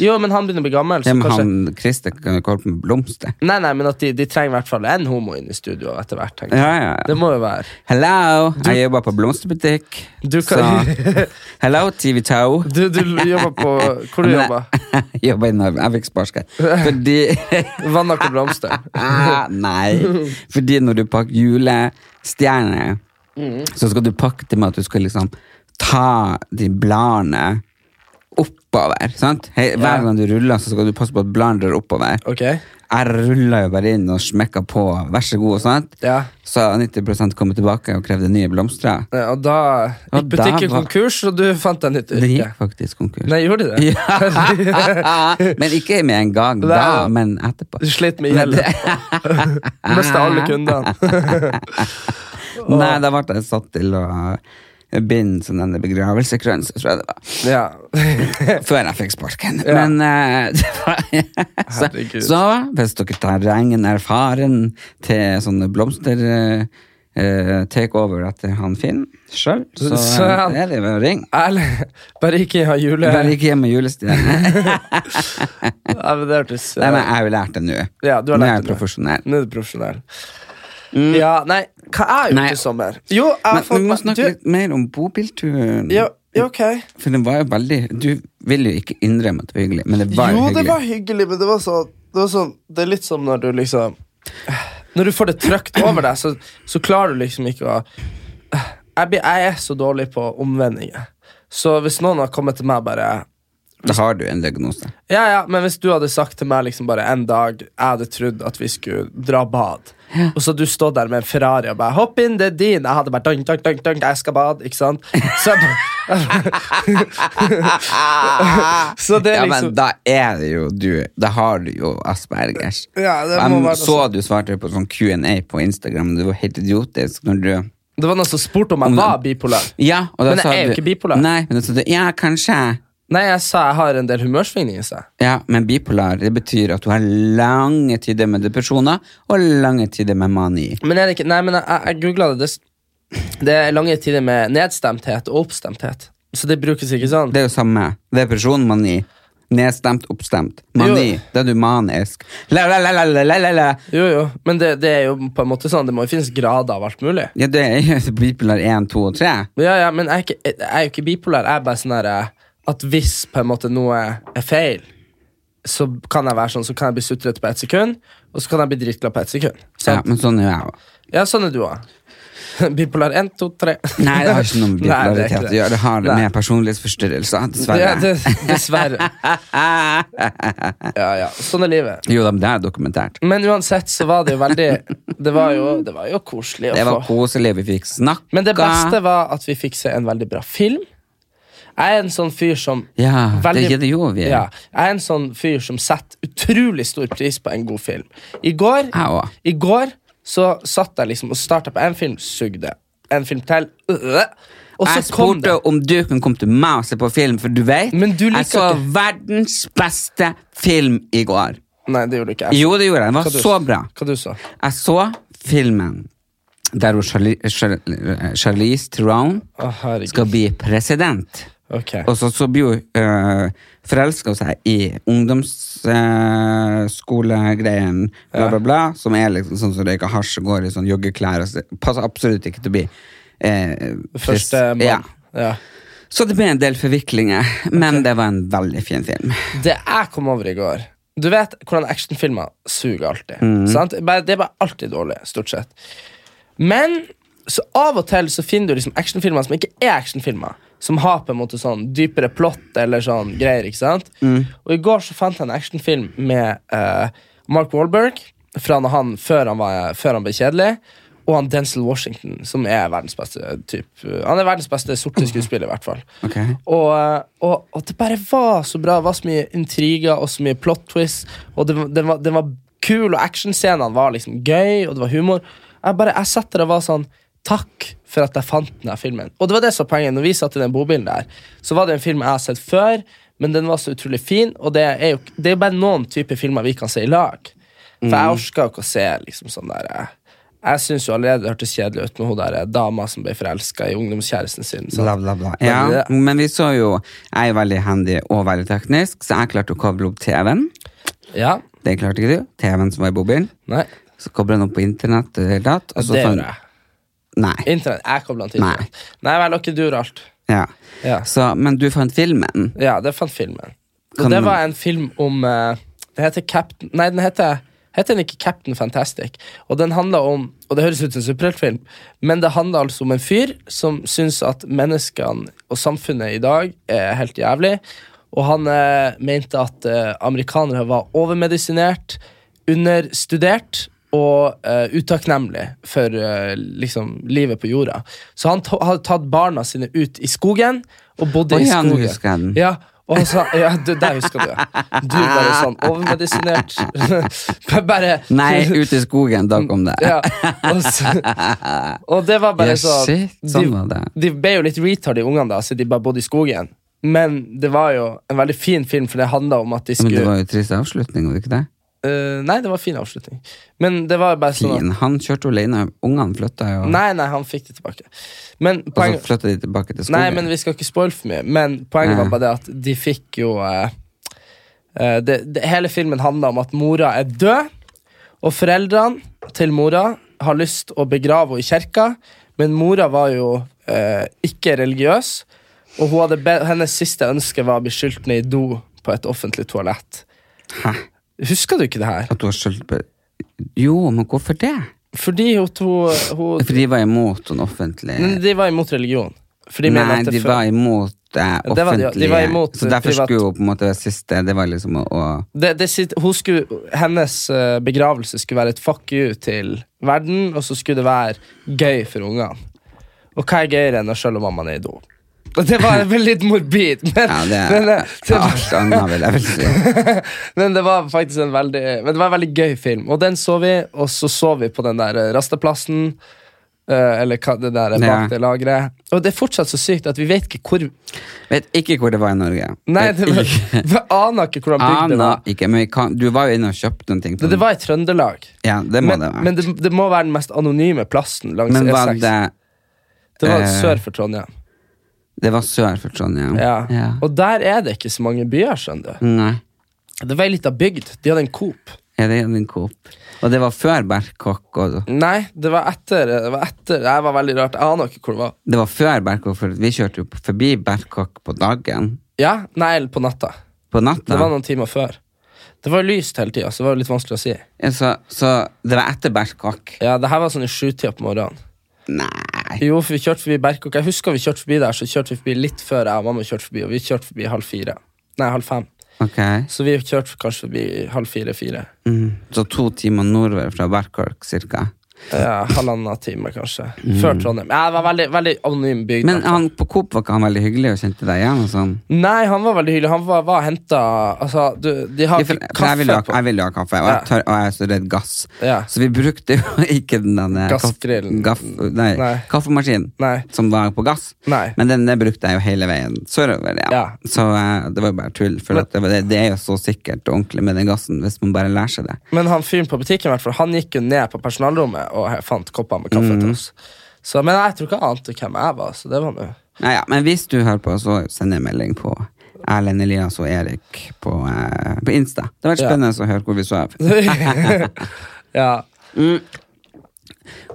[SPEAKER 2] Jo, men han begynner å bli gammel. Så
[SPEAKER 1] Ja, men
[SPEAKER 2] kanskje,
[SPEAKER 1] han Christer kan jo ikke holde på med blomster.
[SPEAKER 2] Nei, nei, men at de, de trenger i hvert fall en homo inn i studio etter hvert. tenker jeg.
[SPEAKER 1] Ja, ja.
[SPEAKER 2] Det må jo være
[SPEAKER 1] Hello, jeg jobber på blomsterbutikk.
[SPEAKER 2] Du kan-
[SPEAKER 1] Så, hello, TV 2.
[SPEAKER 2] Du, du jobber på Hvor du jobber
[SPEAKER 1] Jeg jobber i Narvik. Jeg fikk sparken. Fordi
[SPEAKER 2] Vannak og blomster.
[SPEAKER 1] Ah, Nei. Fordi når du pakker julestjerner,
[SPEAKER 2] Mm.
[SPEAKER 1] så skal du pakke det med at du skal liksom ta de bladene opp oppover. Sant? Hei,
[SPEAKER 2] Ja.
[SPEAKER 1] hver gang du ruller, så skal du passe på at bladet drar oppover.
[SPEAKER 2] Ok.
[SPEAKER 1] Jeg rulla jo bare inn og smekka på. Vær så god. Sant?
[SPEAKER 2] Ja.
[SPEAKER 1] Så 90 kom tilbake og krevde nye blomster.
[SPEAKER 2] Eh, Og da gikk
[SPEAKER 1] Og da
[SPEAKER 2] butikken
[SPEAKER 1] var-
[SPEAKER 2] konkurs, og du fant deg nytt
[SPEAKER 1] Det
[SPEAKER 2] yrke.
[SPEAKER 1] gikk faktisk konkurs.
[SPEAKER 2] Nei, gjorde de det?
[SPEAKER 1] Ja. men ikke med en gang da,
[SPEAKER 2] Nei.
[SPEAKER 1] men etterpå.
[SPEAKER 2] Du slet med gjeld. Mista alle kundene.
[SPEAKER 1] Nei, da ble jeg satt til å binde sånn denne begravelsekrønse, tror jeg det var.
[SPEAKER 2] ja.
[SPEAKER 1] Før jeg fikk sparken.
[SPEAKER 2] Ja.
[SPEAKER 1] Men eh, det var så,
[SPEAKER 2] Herregud.
[SPEAKER 1] så hvis dere terrengen er erfaren til sånne blomster eh, eh, takeover etter han Finn sjøl, så
[SPEAKER 2] Så-
[SPEAKER 1] eh, er det bare å ringe.
[SPEAKER 2] Ærlig, bare ikke ha jule...
[SPEAKER 1] Bare ikke hjemme med julestjerne.
[SPEAKER 2] Ja, men det hørtes eh,
[SPEAKER 1] Nei, men jeg har jo lært det nå.
[SPEAKER 2] Ja, du har
[SPEAKER 1] nå
[SPEAKER 2] lært
[SPEAKER 1] er jeg
[SPEAKER 2] det nå.
[SPEAKER 1] profesjonell.
[SPEAKER 2] Nå er du profesjonell. Ja, Mm. nei, hva er ute
[SPEAKER 1] Nei.
[SPEAKER 2] i sommer? Jo, jeg har
[SPEAKER 1] Men
[SPEAKER 2] fått
[SPEAKER 1] vi må
[SPEAKER 2] meg-
[SPEAKER 1] snakke
[SPEAKER 2] du-
[SPEAKER 1] litt mer om bobilturen.
[SPEAKER 2] Ja, ja, ok.
[SPEAKER 1] For den var jo veldig Du vil jo ikke innrømme at det var hyggelig, men det var
[SPEAKER 2] jo,
[SPEAKER 1] jo
[SPEAKER 2] det
[SPEAKER 1] hyggelig.
[SPEAKER 2] var hyggelig, men det var, så, det var sånn Det er litt som når du liksom Når du får det trøkt over deg, så, så klarer du liksom ikke å jeg, blir, jeg er så dårlig på omvendinger. Så hvis noen har kommet til meg bare
[SPEAKER 1] Da har du en diagnose.
[SPEAKER 2] Ja, ja, men hvis du hadde sagt til meg liksom bare en dag jeg hadde trodd at vi skulle dra bad, og så du stod der med en Ferrari og bare 'Hopp inn, det er din.' Jeg hadde bare dunk, dunk, dunk, dunk, 'Jeg skal bade', ikke sant? Så, så det
[SPEAKER 1] ja,
[SPEAKER 2] er liksom
[SPEAKER 1] men da er det jo du Da har du jo aspergers.
[SPEAKER 2] Ja, det
[SPEAKER 1] Og jeg
[SPEAKER 2] må være noe
[SPEAKER 1] så du svarte på sånn Q&A på Instagram, og det var helt idiotisk når du
[SPEAKER 2] Det var noen som spurte om jeg
[SPEAKER 1] Om-
[SPEAKER 2] var bipolar.
[SPEAKER 1] ja, og da
[SPEAKER 2] Men jeg
[SPEAKER 1] sa
[SPEAKER 2] er jo
[SPEAKER 1] du,
[SPEAKER 2] ikke bipolar.
[SPEAKER 1] Nei, men da sa du ja, kanskje.
[SPEAKER 2] Nei, jeg sa jeg har en del humørsvingninger. sa jeg.
[SPEAKER 1] Ja, Men bipolar det betyr at du har lange tider med depresjoner og lange tider med mani.
[SPEAKER 2] Men er det ikke Nei, men jeg, jeg googla det. Det, det er lange tider med nedstemthet og oppstemthet. Så det brukes ikke sånn.
[SPEAKER 1] Det er jo samme. Depresjon, mani. Nedstemt, oppstemt. Mani.
[SPEAKER 2] Jo.
[SPEAKER 1] Da er du manisk. La, la, la, la, la, la, la, la.
[SPEAKER 2] Jo, jo, men det, det er jo på en måte sånn Det må jo finnes grader av alt mulig.
[SPEAKER 1] Ja, det er jo bipolar 1, 2 og 3.
[SPEAKER 2] Men Ja, ja, men jeg er, ikke, jeg er jo ikke bipolar. Jeg er bare sånn derre at hvis på en måte noe er feil, så kan jeg være sånn, så kan jeg bli sutrete på ett sekund, og så kan jeg bli dritglad på ett sekund.
[SPEAKER 1] Ja,
[SPEAKER 2] Sant?
[SPEAKER 1] men sånn er jo jeg òg.
[SPEAKER 2] Ja, sånn er du òg. Bipolar 1, 2, 3.
[SPEAKER 1] Nei, det har ikke noe med
[SPEAKER 2] Nei, det er ikke
[SPEAKER 1] bipolaritet å gjøre. Det har
[SPEAKER 2] Nei.
[SPEAKER 1] med personlighetsforstyrrelser, dessverre.
[SPEAKER 2] Ja, det, dessverre. Ja, ja. Sånn er livet.
[SPEAKER 1] Jo da, men det er dokumentert.
[SPEAKER 2] Men uansett så var det jo veldig Det var jo, det var jo koselig å
[SPEAKER 1] Det var
[SPEAKER 2] få.
[SPEAKER 1] koselig, vi fikk snakka.
[SPEAKER 2] Men det beste var at vi fikk se en veldig bra film. Jeg er en sånn fyr som
[SPEAKER 1] Ja, det- det gjorde vi.
[SPEAKER 2] Ja, jeg er en sånn fyr som setter utrolig stor pris på en god film. I går,
[SPEAKER 1] Jeg også.
[SPEAKER 2] i går så satt jeg liksom og starta på en film, sugde. En film til. øh, Og så
[SPEAKER 1] jeg
[SPEAKER 2] kom
[SPEAKER 1] spurte
[SPEAKER 2] det
[SPEAKER 1] om du kunne komme til meg og se på film, for du vet
[SPEAKER 2] Men du liker
[SPEAKER 1] Jeg så
[SPEAKER 2] ikke-
[SPEAKER 1] verdens beste film i går.
[SPEAKER 2] Nei, det gjorde du ikke. Jeg-
[SPEAKER 1] Jo, det gjorde jeg. Den
[SPEAKER 2] Hva
[SPEAKER 1] var
[SPEAKER 2] du-
[SPEAKER 1] så bra.
[SPEAKER 2] Hva du sa
[SPEAKER 1] Jeg så filmen der hun Charli- Char- Charlize Theron
[SPEAKER 2] Å, herregud.
[SPEAKER 1] skal bli president.
[SPEAKER 2] Ok.
[SPEAKER 1] Og så, så blir hun øh, forelska seg i ungdomsskolegreien, bla, bla, bla, som er liksom sånn som røyker hasj og går i sånn joggeklær. Og så, passer absolutt ikke til å bli eh, pres-
[SPEAKER 2] Første mann.
[SPEAKER 1] ja.
[SPEAKER 2] Ja.
[SPEAKER 1] Så det ble en del forviklinger, men det var en veldig fin film.
[SPEAKER 2] Det jeg kom over i går Du vet hvordan actionfilmer suger alltid. Sant? Bare, det er bare alltid dårlig, stort sett. Men så av og til så finner du liksom actionfilmer som ikke er actionfilmer. Som har på en måte sånn dypere plott eller sånn greier. ikke sant? Og i går så fant jeg en actionfilm med eh, Mark Wahlberg fra når han, før, han var, før han ble kjedelig. Og han Denzil Washington, som er verdens beste typ, Han er verdens beste sorte skuespiller. i hvert fall
[SPEAKER 1] Ok.
[SPEAKER 2] og, og, og det bare var så bra. Det var så mye intriger og så mye plot twists. Og det, var- det, var, det var kul, og actionscenene var liksom gøy, og det var humor. Jeg bare, jeg satt der og var sånn Takk for at jeg fant denne filmen. Og det var det som var poenget. Når vi satt i den bobilen der, så var det en film jeg har sett før, men den var så utrolig fin, og det er jo det er jo bare noen typer filmer vi kan se i lag. For jeg orka jo ikke å se liksom sånn der eh, Jeg syns jo allerede det hørtes kjedelig ut med hun der eh, dama som ble forelska i ungdomskjæresten sin. sant?
[SPEAKER 1] Bla, bla, bla.
[SPEAKER 2] Bla, bla,
[SPEAKER 1] Ja,
[SPEAKER 2] bla.
[SPEAKER 1] men vi så jo Jeg er veldig handy og veldig teknisk, så jeg klarte å koble opp TV-en.
[SPEAKER 2] Ja,
[SPEAKER 1] Det klarte ikke du. TV-en som var i bobilen.
[SPEAKER 2] nei
[SPEAKER 1] Så koblet den opp på internett. og det hele tatt, og så
[SPEAKER 2] det
[SPEAKER 1] fant-
[SPEAKER 2] gjør jeg.
[SPEAKER 1] Altså, sånn- Nei.
[SPEAKER 2] Internett. Jeg kobler den til internett. Nei. vel, ok, du gjør alt.
[SPEAKER 1] Ja.
[SPEAKER 2] Ja.
[SPEAKER 1] Så, men du fant filmen.
[SPEAKER 2] Ja, det fant filmen. Og
[SPEAKER 1] Kan-
[SPEAKER 2] det var en film om eh, Det heter Captain Nei, den heter Heter den ikke Captain Fantastic? Og den handler om Og det høres ut som en superheltfilm, men det handler altså om en fyr som syns at menneskene og samfunnet i dag er helt jævlig, Og han eh, mente at eh, amerikanere var overmedisinert, understudert og eh, utakknemlig for eh, liksom, livet på jorda. Så han to- hadde tatt barna sine ut i skogen og bodde
[SPEAKER 1] Oi,
[SPEAKER 2] i
[SPEAKER 1] han
[SPEAKER 2] skogen.
[SPEAKER 1] husker jeg den.
[SPEAKER 2] Ja, og han sa, ja, du, der husker du, ja. Du bare sånn overmedisinert. bare
[SPEAKER 1] Nei, ute i skogen, da kom det.
[SPEAKER 2] ja, og, så, og det var bare
[SPEAKER 1] Ja,
[SPEAKER 2] sånn
[SPEAKER 1] shit, sånn var det.
[SPEAKER 2] De, de ble jo litt retard, de ungene, da, så de bare bodde i skogen. Men det var jo en veldig fin film, for det handla om at de
[SPEAKER 1] Men
[SPEAKER 2] skulle
[SPEAKER 1] det var jo trist avslutning, var det ikke det?
[SPEAKER 2] Eh, Nei, det var fin avslutning. Men det var bare sånn at,
[SPEAKER 1] Fin. Han kjørte jo alene, ungene flytta jo.
[SPEAKER 2] Nei, nei, han fikk det tilbake. Men
[SPEAKER 1] Og så
[SPEAKER 2] poenget
[SPEAKER 1] flytta de tilbake til skogen.
[SPEAKER 2] Nei, men vi skal ikke spoile for mye. Men poenget
[SPEAKER 1] Nei.
[SPEAKER 2] var bare det at de fikk jo eh, eh, det, det, Hele filmen handla om at mora er død, og foreldrene til mora har lyst å begrave henne i kirka, men mora var jo eh, ikke religiøs, og hun hadde be hennes siste ønske var å bli skylt ned i do på et offentlig toalett.
[SPEAKER 1] Hæ?
[SPEAKER 2] Husker du ikke det her?
[SPEAKER 1] At du har skyldt på Jo, men hvorfor det?
[SPEAKER 2] Fordi hun, to, hun
[SPEAKER 1] For de var imot den offentlige
[SPEAKER 2] Men de var imot religion. For de mener
[SPEAKER 1] Nei,
[SPEAKER 2] at det
[SPEAKER 1] de
[SPEAKER 2] før-
[SPEAKER 1] var imot det
[SPEAKER 2] Ja, det var de- de
[SPEAKER 1] offentlige.
[SPEAKER 2] var imot
[SPEAKER 1] så derfor
[SPEAKER 2] privat.
[SPEAKER 1] skulle jo på en måte det siste Det var liksom å, å
[SPEAKER 2] det, det, sitt- hun skulle, hennes eh, begravelse skulle være et fuck you til verden, og så skulle det være gøy for ungene. Og hva er gøyere enn å skjølle mammaen er i do? Og Det var vel litt morbid, men,
[SPEAKER 1] Ja, det,
[SPEAKER 2] men, eh, det, var,
[SPEAKER 1] alt annet, vil jeg vel si.
[SPEAKER 2] men det var faktisk en veldig Men det var en veldig gøy film, og den så vi, og så så vi på den der eh, rasteplassen. eh, eller hva det der er
[SPEAKER 1] Ja.
[SPEAKER 2] bak det lageret. Og det er fortsatt så sykt at vi vet ikke hvor
[SPEAKER 1] Vet ikke hvor det var i Norge.
[SPEAKER 2] Nei,
[SPEAKER 1] Vet
[SPEAKER 2] det var,
[SPEAKER 1] ikke.
[SPEAKER 2] vi aner ikke hvordan bygd det
[SPEAKER 1] Aner
[SPEAKER 2] var.
[SPEAKER 1] ikke, men vi kan, du var jo inne og kjøpte noen ting. på
[SPEAKER 2] Det, det
[SPEAKER 1] den.
[SPEAKER 2] var i Trøndelag.
[SPEAKER 1] ja, det må
[SPEAKER 2] Men,
[SPEAKER 1] det være.
[SPEAKER 2] men det, det må være den mest anonyme plassen langs
[SPEAKER 1] men var
[SPEAKER 2] E6. Det,
[SPEAKER 1] det
[SPEAKER 2] var
[SPEAKER 1] eh, Mm.
[SPEAKER 2] sør for Trondheim.
[SPEAKER 1] Det var sør for sånn, Trondheim.
[SPEAKER 2] Ja. Og der er det ikke så mange byer, skjønner du.
[SPEAKER 1] Nei.
[SPEAKER 2] Det var ei lita bygd. De hadde en Coop.
[SPEAKER 1] Ja, det er en Coop. Og det var før Berkåk. og-
[SPEAKER 2] Nei, det var etter Det var etter, det her var veldig rart. Jeg aner ikke hvor det var.
[SPEAKER 1] Det var før Berkåk, for vi kjørte jo forbi Berkåk på dagen.
[SPEAKER 2] Ja, Nei, eller på natta.
[SPEAKER 1] På natta.
[SPEAKER 2] Det var noen timer før. Det var lyst hele tida, så det var jo litt vanskelig å si.
[SPEAKER 1] Ja, så, så det var etter Berkåk.
[SPEAKER 2] Ja, Det her var sånn i sjutida på morgenen.
[SPEAKER 1] Nei.
[SPEAKER 2] Jo, for vi kjørte forbi Berkåk. Jeg husker vi kjørte forbi der, så kjørte vi forbi litt før jeg og mamma kjørte forbi, og vi kjørte forbi halv fire. Nei, halv fem.
[SPEAKER 1] Ok.
[SPEAKER 2] Så vi kjørte kanskje forbi halv fire-fire.
[SPEAKER 1] Mm. Så to timer nordover fra Berkåk, cirka.
[SPEAKER 2] Ja, halvannen time, kanskje. Før Trondheim. Ja, det var veldig, veldig anonym
[SPEAKER 1] Mm.
[SPEAKER 2] bygd.
[SPEAKER 1] Men han på Coop var ikke han veldig hyggelig og kjente deg igjen? og sånn?
[SPEAKER 2] Nei, han var veldig hyggelig. Han var, var henta Altså, du, de har
[SPEAKER 1] Ja, for,
[SPEAKER 2] ikke
[SPEAKER 1] for jeg, vil
[SPEAKER 2] kaffe
[SPEAKER 1] ha,
[SPEAKER 2] på
[SPEAKER 1] jeg vil ha kaffe, og jeg,
[SPEAKER 2] Ja.
[SPEAKER 1] tør, og jeg er så redd gass.
[SPEAKER 2] Ja.
[SPEAKER 1] Så vi brukte jo ikke den derne
[SPEAKER 2] Gassgrillen.
[SPEAKER 1] Gaff, nei,
[SPEAKER 2] Nei.
[SPEAKER 1] kaffemaskinen
[SPEAKER 2] Nei.
[SPEAKER 1] som var på gass.
[SPEAKER 2] Nei.
[SPEAKER 1] Men den der brukte jeg jo hele veien sørover. Ja.
[SPEAKER 2] Ja.
[SPEAKER 1] Så eh, det var jo bare tull. For
[SPEAKER 2] Men-
[SPEAKER 1] at det, var- det, det er jo så sikkert og ordentlig med den gassen hvis man bare lærer seg det.
[SPEAKER 2] Men han fyren på butikken, i hvert fall, han gikk jo ned på personalrommet og he- fant kopper med kaffe
[SPEAKER 1] Mm.
[SPEAKER 2] til oss. Så, men jeg tror ikke han ante hvem jeg var, så det var nå
[SPEAKER 1] Nei, ja, men hvis du hører på, så send en melding på Erlend Elias og Erik på, eh, på Insta. Det har vært
[SPEAKER 2] Ja.
[SPEAKER 1] spennende å høre hvor vi sov.
[SPEAKER 2] Ja.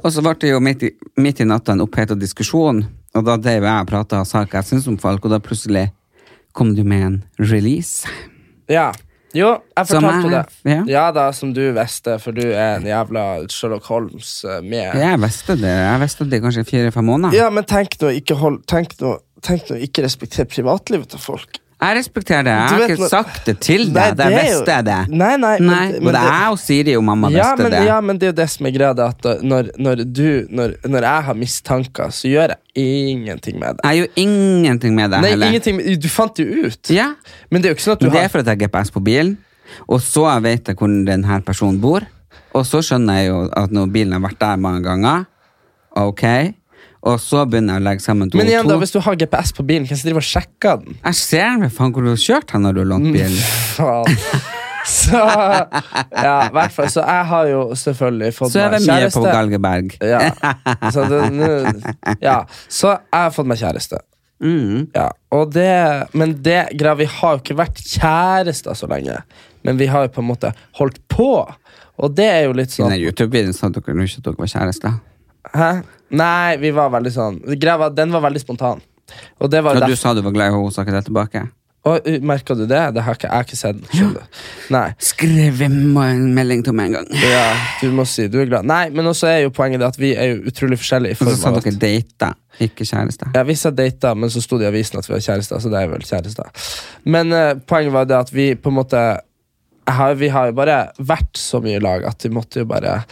[SPEAKER 1] Og så ble det jo midt i, midt i natta en oppheta diskusjon, og da drev jeg og prata og sa hva jeg syns om folk, og da plutselig kom du med en release.
[SPEAKER 2] ja. Jo, jeg
[SPEAKER 1] Som
[SPEAKER 2] fortalte det.
[SPEAKER 1] jeg- ja.
[SPEAKER 2] da, som du visste, for du er en jævla Sherlock Holmes eh, med
[SPEAKER 1] Jeg visste det jeg visste det i kanskje fire-fem måneder.
[SPEAKER 2] Ja, men tenk nå ikke hold, tenk nå, tenk nå ikke respektere privatlivet til folk.
[SPEAKER 1] Jeg respekterer det.
[SPEAKER 2] Du
[SPEAKER 1] Jeg har
[SPEAKER 2] vet
[SPEAKER 1] ikke
[SPEAKER 2] nå-
[SPEAKER 1] sagt det til deg.
[SPEAKER 2] Nei,
[SPEAKER 1] det
[SPEAKER 2] det er jo-
[SPEAKER 1] visste jeg det.
[SPEAKER 2] Nei, nei, men- men
[SPEAKER 1] Både
[SPEAKER 2] det-
[SPEAKER 1] jeg og Siri og mamma
[SPEAKER 2] Ja
[SPEAKER 1] visste
[SPEAKER 2] men,
[SPEAKER 1] det.
[SPEAKER 2] ja, men det er jo det som er greia, det at da- når, når du når, når jeg har mistanker, så gjør jeg ingenting med det.
[SPEAKER 1] Jeg gjør ingenting med det
[SPEAKER 2] Nei,
[SPEAKER 1] heller.
[SPEAKER 2] ingenting med- Du fant jo ut.
[SPEAKER 1] Ja.
[SPEAKER 2] Men det er jo ikke sånn at du
[SPEAKER 1] Men det er
[SPEAKER 2] har
[SPEAKER 1] for at jeg har GPS på bilen, og så vet jeg hvor denne personen bor. Og så skjønner jeg jo at når bilen har vært der mange ganger, ok, og så begynner jeg å legge sammen to
[SPEAKER 2] Men igjen, da,
[SPEAKER 1] og to.
[SPEAKER 2] hvis du har GPS på bilen, hvem som driver og sjekker den?
[SPEAKER 1] Jeg ser vel faen hvor du har kjørt hen når du har
[SPEAKER 2] Mm.
[SPEAKER 1] lånt bilen.
[SPEAKER 2] Faen. Så Ja, i hvert fall. Så jeg har jo selvfølgelig fått
[SPEAKER 1] Så er
[SPEAKER 2] meg
[SPEAKER 1] vi mye på
[SPEAKER 2] kjæreste.
[SPEAKER 1] Galgeberg.
[SPEAKER 2] Ja. Så, det, nå- ja. så jeg har fått meg kjæreste.
[SPEAKER 1] Mm.
[SPEAKER 2] Ja. Og det, men det greia, vi har jo ikke vært kjærester så lenge, men vi har jo på en måte holdt på. Og det er jo litt
[SPEAKER 1] I
[SPEAKER 2] sånn
[SPEAKER 1] den YouTube-videoen sa dere jo ikke at dere var kjærester.
[SPEAKER 2] Hæ? Nei, vi var veldig sånn greia, var- Den var veldig spontan. Og det var
[SPEAKER 1] Og
[SPEAKER 2] jo
[SPEAKER 1] du
[SPEAKER 2] derfor
[SPEAKER 1] sa du var glad i henne, og hun sa ikke det tilbake.
[SPEAKER 2] Og, uh, merker du det? Det har ikke, jeg har ikke sett den. skjønner du. Nei.
[SPEAKER 1] Skrev en melding til meg en gang.
[SPEAKER 2] Ja, du må si du er glad. Nei, men også er jo poenget det at vi er jo utrolig forskjellige. i
[SPEAKER 1] Og så
[SPEAKER 2] form
[SPEAKER 1] sa
[SPEAKER 2] av at-
[SPEAKER 1] dere date, ikke kjæreste.
[SPEAKER 2] Ja, hvis jeg data, men så sto det i avisen at vi var kjærester, så det er jeg vel kjærester. Men eh, poenget var det at vi på en måte jeg har, Vi har jo bare vært så mye i lag at vi måtte jo bare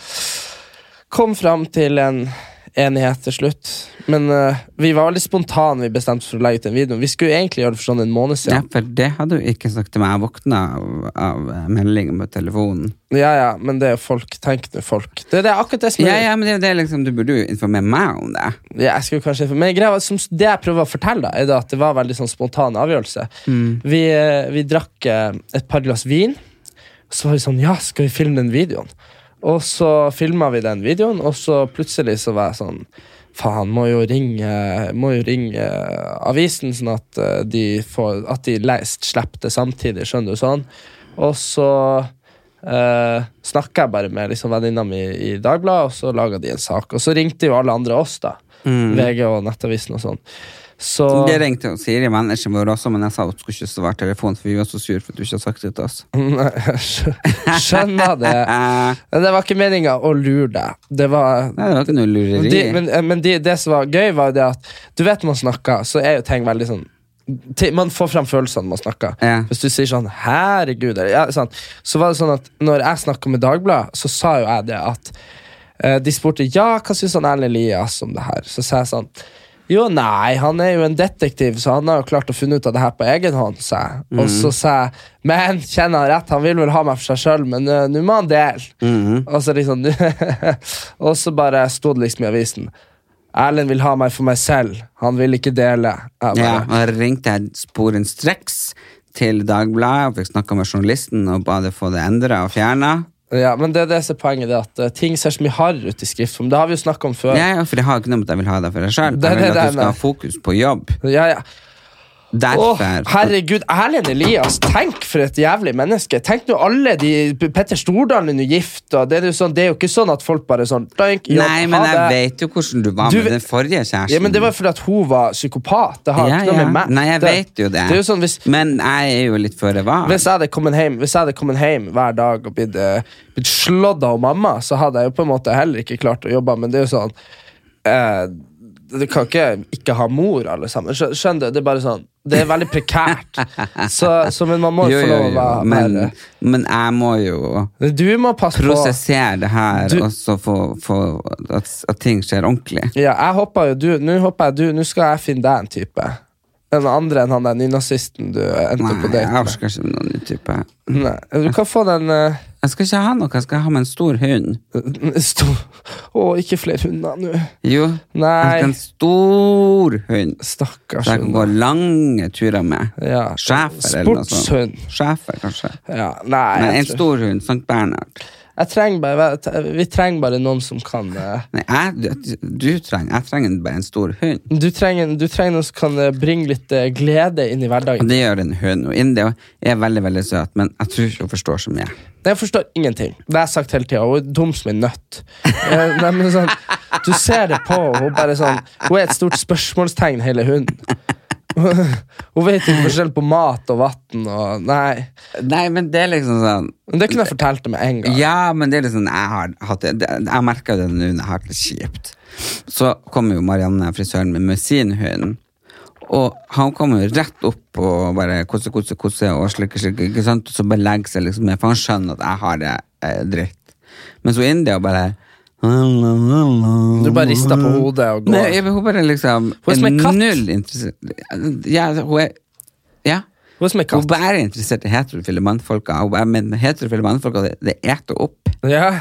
[SPEAKER 2] Kom fram til en enighet til slutt. Men eh, vi var veldig spontane vi bestemte oss for å legge ut den videoen. Vi skulle jo egentlig gjøre det for sånn en måned
[SPEAKER 1] Ja,
[SPEAKER 2] siden.
[SPEAKER 1] for det hadde du ikke sagt til meg. Jeg våkna av, av meldingen på telefonen.
[SPEAKER 2] Ja, ja, men det er jo folk. Tenk nå, folk. Det, det er akkurat det som er
[SPEAKER 1] Ja, ja, men det er jo det liksom, Du burde jo informere meg om det.
[SPEAKER 2] ja, jeg skulle kanskje Men greia, var- som, det jeg prøver å fortelle, da, er da at det var veldig sånn spontan avgjørelse.
[SPEAKER 1] Mm.
[SPEAKER 2] Vi, eh, vi drakk eh, et par glass vin, så var vi sånn Ja, skal vi filme den videoen? Og så filma vi den videoen, og så plutselig så var jeg sånn Faen, må jo ringe, må jo ringe eh, avisen, sånn at eh, de, får, at de le- slipper det samtidig, skjønner du sånn. Og så Uh, snakka jeg bare med liksom, venninna mi i Dagbladet, og så laga de en sak. Og så ringte jo alle andre oss, da. VG og Nettavisen og sånn. Så
[SPEAKER 1] Det ringte jo Siri, manageren vår også, men jeg sa hun skulle ikke svare telefonen, for vi var så sur for at du ikke har sagt det til oss.
[SPEAKER 2] Nei, skjø- Skjønner det. Men det var ikke meninga å lure deg. Det var
[SPEAKER 1] Nei, det var ikke noe lureri.
[SPEAKER 2] de, Men, eh, men de, det som var gøy, var jo det at du vet når man snakker, så er jo ting veldig sånn ti- man får fram følelsene når man snakker.
[SPEAKER 1] Ja.
[SPEAKER 2] Hvis du sier sånn 'herregud' eller, ja, sånn, Så var det sånn at når jeg snakka med Dagbladet, så sa jo jeg det at eh, De spurte 'ja, hva syns han Erlend Elias om det her?' Så sa jeg sånn jo, nei, han er jo en detektiv, så han har jo klart å finne ut av det her på egen hånd. sa jeg. Og så sa jeg men kjenner han rett, han vil vel ha meg for seg sjøl, men eh, nå må han dele. Og så liksom Og så bare sto det liksom i avisen. Erlend vil ha meg for meg selv, han vil ikke dele. Jeg bare,
[SPEAKER 1] Ja, og da ringte jeg sporenstreks til Dagbladet og fikk snakka med journalisten og ba det få det endra og fjerna.
[SPEAKER 2] Ja, men det, er det som er poenget det er at eh, ting ser så mye hardere ut i skriftform. Det har vi jo snakka om før.
[SPEAKER 1] Ja, ja, for jeg har ikke noe med at jeg vil ha deg for deg sjøl.
[SPEAKER 2] Det er
[SPEAKER 1] Jeg vil
[SPEAKER 2] det
[SPEAKER 1] at
[SPEAKER 2] der
[SPEAKER 1] du skal
[SPEAKER 2] med-
[SPEAKER 1] ha fokus på jobb.
[SPEAKER 2] Ja, ja. Åh,
[SPEAKER 1] Derfor.
[SPEAKER 2] herregud, Erlend Elias, tenk for et jævlig menneske. Tenk nå alle de Petter Stordalen er nå gift, og det er, jo sånn, det er jo ikke sånn at folk bare sånn doink, jobb,
[SPEAKER 1] Nei, men
[SPEAKER 2] ha
[SPEAKER 1] jeg
[SPEAKER 2] det.
[SPEAKER 1] vet jo hvordan du var
[SPEAKER 2] Du
[SPEAKER 1] med
[SPEAKER 2] vet-
[SPEAKER 1] den forrige kjæresten.
[SPEAKER 2] Ja, men Det var fordi at hun var psykopat. Det har
[SPEAKER 1] Ja,
[SPEAKER 2] ikke noe
[SPEAKER 1] ja.
[SPEAKER 2] med meg
[SPEAKER 1] Nei, jeg
[SPEAKER 2] det,
[SPEAKER 1] vet jo det.
[SPEAKER 2] det er jo sånn, hvis,
[SPEAKER 1] Men jeg er jo litt føre var.
[SPEAKER 2] Hvis jeg hadde kommet hjem, hvis jeg hadde kommet hjem hver dag og blitt, eh, blitt slått av mamma, så hadde jeg jo på en måte heller ikke klart å jobbe. Men det er jo sånn eh, Du kan ikke ikke ha mor, alle sammen. Skjø- Skjønner du? Det er bare sånn Det er veldig prekært. Så, så men man må jo
[SPEAKER 1] Jo,
[SPEAKER 2] få
[SPEAKER 1] jo,
[SPEAKER 2] lov å
[SPEAKER 1] jo.
[SPEAKER 2] være
[SPEAKER 1] Men,
[SPEAKER 2] være-
[SPEAKER 1] men jeg må jo
[SPEAKER 2] Du må passe på
[SPEAKER 1] prosessere det her,
[SPEAKER 2] Du-
[SPEAKER 1] og så få, få at, at ting skjer ordentlig.
[SPEAKER 2] Ja, jeg håper jo du Nå håper jeg du Nå skal jeg finne deg en type. En andre enn han der nynazisten du endte
[SPEAKER 1] Nei,
[SPEAKER 2] på
[SPEAKER 1] jeg
[SPEAKER 2] date med.
[SPEAKER 1] orker ikke noen ny type.
[SPEAKER 2] Nei, Du kan få den eh,
[SPEAKER 1] Jeg skal ikke ha noe, jeg skal ha med en stor hund.
[SPEAKER 2] stor Å, ikke flere hunder nå.
[SPEAKER 1] Jo, jeg skal ha
[SPEAKER 2] Nei.
[SPEAKER 1] en stor hund.
[SPEAKER 2] Stakkars
[SPEAKER 1] Så jeg kan gå
[SPEAKER 2] hund.
[SPEAKER 1] lange turer med.
[SPEAKER 2] Ja.
[SPEAKER 1] Schæfer eller noe
[SPEAKER 2] Sportshund.
[SPEAKER 1] sånt. Schæfer, kanskje.
[SPEAKER 2] Ja, nei,
[SPEAKER 1] Nei,
[SPEAKER 2] jeg,
[SPEAKER 1] en
[SPEAKER 2] tror-
[SPEAKER 1] stor hund. Sankt Bernhard.
[SPEAKER 2] jeg trenger bare, vi trenger bare noen som kan eh,
[SPEAKER 1] Nei, jeg, du trenger, jeg trenger bare en stor hund.
[SPEAKER 2] du trenger, du trenger noen som kan eh, bringe litt eh, glede inn i
[SPEAKER 1] Og
[SPEAKER 2] hverdagen.
[SPEAKER 1] det gjør en hund. Og India er veldig veldig søt, men jeg tror ikke hun forstår så mye.
[SPEAKER 2] Jeg forstår ingenting. Det har jeg sagt hele tida. Hun er dum som en nøtt. Eh, Nei, men sånn, du ser det på henne. Hun, bare sånn, hun er et stort spørsmålstegn, hele hunden. Hun vet ikke forskjell på mat og vann og Nei.
[SPEAKER 1] Nei, men det er liksom sånn
[SPEAKER 2] Men det kunne jeg fortalt det med en gang.
[SPEAKER 1] Ja, men det er liksom Jeg har hatt det det- Jeg merker jo det nå når jeg har hatt det kjipt. Så kommer jo Marianne, frisøren min, med sin hund. Og han kommer jo rett opp og bare kosse, kosse, kosse og slikke, slikke. Ikke sant? Og så bare legger seg liksom ned, for han skjønner at jeg har det eh, dritt. Mens hun India bare
[SPEAKER 2] Du bare rister på hodet og går.
[SPEAKER 1] Nei, jeg- hun bare liksom
[SPEAKER 2] Hun er som en katt.
[SPEAKER 1] Null interessert Ja, hun er Ja.
[SPEAKER 2] Hun er som en
[SPEAKER 1] Hun
[SPEAKER 2] katt.
[SPEAKER 1] bare er interessert i heterofile mannfolka. Hun bare, men heterofile mannfolka, det, det eter opp.
[SPEAKER 2] Ja.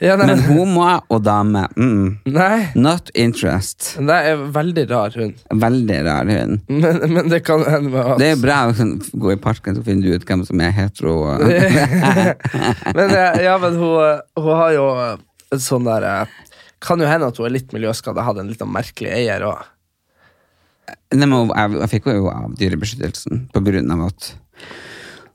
[SPEAKER 2] Ja, nei,
[SPEAKER 1] Men homo og dame mm,
[SPEAKER 2] nei.
[SPEAKER 1] Not interest.
[SPEAKER 2] Det er en veldig rar hund.
[SPEAKER 1] Veldig rar hund.
[SPEAKER 2] Men, men det kan hende med at
[SPEAKER 1] Det er bra å sånn, gå i parken, så finner du ut hvem som er hetero. og-
[SPEAKER 2] Men eh, ja, men hun, eh, hun har jo eh, et sånn der eh, Kan jo hende at hun er litt miljøskada, hadde en litt sånn merkelig eier òg.
[SPEAKER 1] Nei, men hun- jeg, jeg fikk henne jo av Dyrebeskyttelsen på grunn av at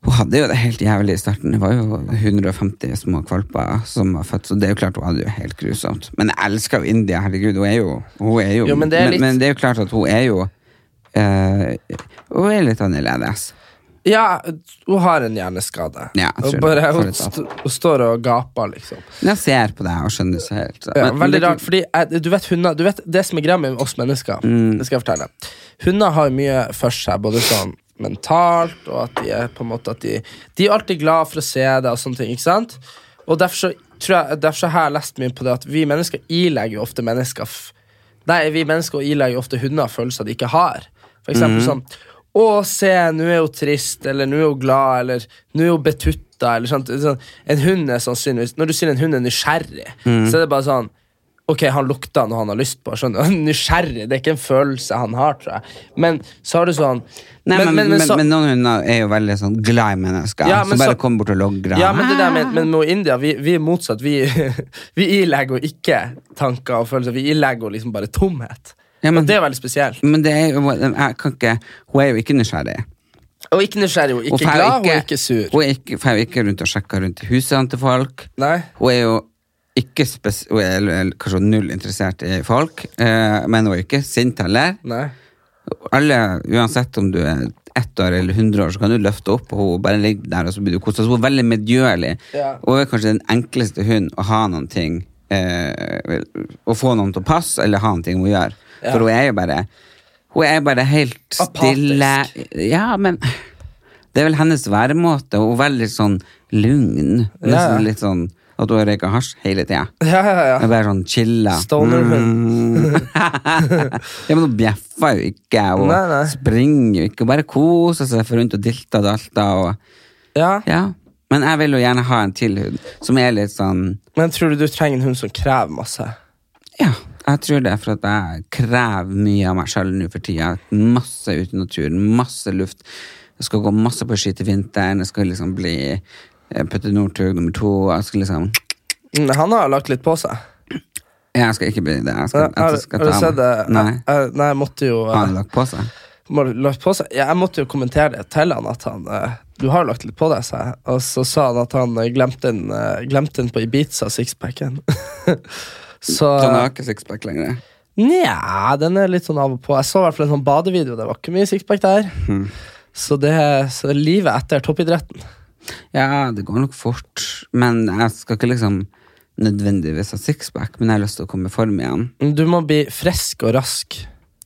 [SPEAKER 1] hun hadde jo det helt jævlig i starten. Det var jo 150 små valper som var født, så det er jo klart hun hadde det jo helt grusomt. Men jeg elsker jo India, herregud. Hun er jo, hun er jo,
[SPEAKER 2] Jo, men det er litt-
[SPEAKER 1] men, det er jo klart at hun er jo eh, Hun er litt annerledes.
[SPEAKER 2] Ja, hun har en hjerneskade.
[SPEAKER 1] Ja, jeg tror
[SPEAKER 2] hun,
[SPEAKER 1] det.
[SPEAKER 2] bare,
[SPEAKER 1] Får
[SPEAKER 2] hun,
[SPEAKER 1] litt av.
[SPEAKER 2] st hun står og gaper, liksom.
[SPEAKER 1] Men jeg ser på deg og skjønner så helt så-
[SPEAKER 2] Ja,
[SPEAKER 1] men-
[SPEAKER 2] veldig
[SPEAKER 1] men-
[SPEAKER 2] rart, fordi jeg, du vet hunder Du vet det som er greia med oss mennesker. Det skal jeg fortelle Hunder har jo mye for seg, både sånn mentalt og at de er på en måte at de, de er alltid glad for å se deg og sånne ting. ikke sant? Og derfor så, tror jeg, derfor så har jeg lest mye på det at vi mennesker ilegger jo ofte mennesker f Nei, vi mennesker ilegger jo ofte hunder følelser de ikke har. For eksempel
[SPEAKER 1] Mhm.
[SPEAKER 2] sånn Å, se, nå er hun trist, eller nå er hun glad, eller nå er hun betutta, eller sånt. Sånn, En hund er sannsynligvis Når du sier en hund er nysgjerrig,
[SPEAKER 1] Mhm.
[SPEAKER 2] så er det bare sånn Ok, han lukta noe han har lyst på. Skjønner du? Nysgjerrig. Det er ikke en følelse han har, tror jeg. Men så har du sånn
[SPEAKER 1] Nei, men, men, men,
[SPEAKER 2] så-
[SPEAKER 1] noen hunder er jo veldig sånn glad i mennesker,
[SPEAKER 2] Ja, men
[SPEAKER 1] så bare
[SPEAKER 2] så-
[SPEAKER 1] kommer bort og logrer.
[SPEAKER 2] Ja, men det der
[SPEAKER 1] Ah.
[SPEAKER 2] med, men med India, vi, vi er motsatt. Vi, vi ilegger jo ikke tanker og følelser. Vi ilegger jo liksom bare tomhet.
[SPEAKER 1] Ja, men-
[SPEAKER 2] og det er veldig spesielt.
[SPEAKER 1] Men det er jo, jeg kan ikke, hun er jo ikke nysgjerrig.
[SPEAKER 2] Og ikke nysgjerrig, og ikke
[SPEAKER 1] Hun fer jo
[SPEAKER 2] glad, og ikke sur.
[SPEAKER 1] Hun er ikke, fer jo ikke rundt og sjekker rundt i husene til folk.
[SPEAKER 2] Nei.
[SPEAKER 1] Hun er jo ikke spes, hun er, eller- eller kanskje null interessert i folk, eh, men hun er jo ikke sint heller.
[SPEAKER 2] Nei.
[SPEAKER 1] Alle, uansett om du er ett år eller hundre år, så kan du løfte opp, og hun bare ligger der, og så blir du koset. Så hun er veldig medgjørlig.
[SPEAKER 2] Ja.
[SPEAKER 1] Hun er kanskje den enkleste hund å ha noen ting, eh, å få noen til å passe, eller ha noen ting hun gjør.
[SPEAKER 2] Ja.
[SPEAKER 1] For hun er jo bare, hun er bare helt stille.
[SPEAKER 2] Apatisk.
[SPEAKER 1] Ja, men det er vel hennes væremåte, og hun er veldig sånn lugn. Nesten
[SPEAKER 2] Ja.
[SPEAKER 1] litt sånn at hun røyker hasj hele tida.
[SPEAKER 2] Ja, ja, ja.
[SPEAKER 1] Bare sånn chilla.
[SPEAKER 2] Stonerhund.
[SPEAKER 1] ja, men hun bjeffer jo ikke, og
[SPEAKER 2] Nei, nei.
[SPEAKER 1] springer jo ikke, og bare koser seg for rundt og dilter og dalter. Og,
[SPEAKER 2] Ja.
[SPEAKER 1] ja. Men jeg vil jo gjerne ha en til hund som er litt sånn
[SPEAKER 2] Men tror du du trenger en hund som krever masse?
[SPEAKER 1] Ja, jeg tror det er for at jeg krever mye av meg sjøl nå for tida. Masse ute i naturen, masse luft. Jeg skal gå masse på ski til vinteren, jeg skal liksom bli eh, Putte Northug nummer to. Jeg skal liksom
[SPEAKER 2] Mm, Han har lagt litt på seg.
[SPEAKER 1] Jeg skal ikke bli det. Jeg skal,
[SPEAKER 2] Har,
[SPEAKER 1] jeg
[SPEAKER 2] har
[SPEAKER 1] skal
[SPEAKER 2] du
[SPEAKER 1] ta av
[SPEAKER 2] sett det?
[SPEAKER 1] meg- Nei.
[SPEAKER 2] Jeg- jeg- Nei, jeg måtte jo
[SPEAKER 1] Har han
[SPEAKER 2] eh,
[SPEAKER 1] lagt på seg?
[SPEAKER 2] må- lagt på seg. Ja, Jeg måtte jo kommentere det til han at han eh, Du har jo lagt litt på deg, sa jeg. Og så sa han at han eh, glemte den, eh, glemte den på Ibiza, sixpacken. så
[SPEAKER 1] Så han har ikke sixpack lenger?
[SPEAKER 2] Nja, den er litt sånn av og på. Jeg så i hvert fall en sånn badevideo. Det var ikke mye sixpack der.
[SPEAKER 1] Hmm.
[SPEAKER 2] Så det så livet etter toppidretten.
[SPEAKER 1] Ja, det går nok fort. Men jeg skal ikke liksom nødvendigvis ha sixpack, men jeg har lyst til å komme i form igjen.
[SPEAKER 2] Du må bli frisk og rask.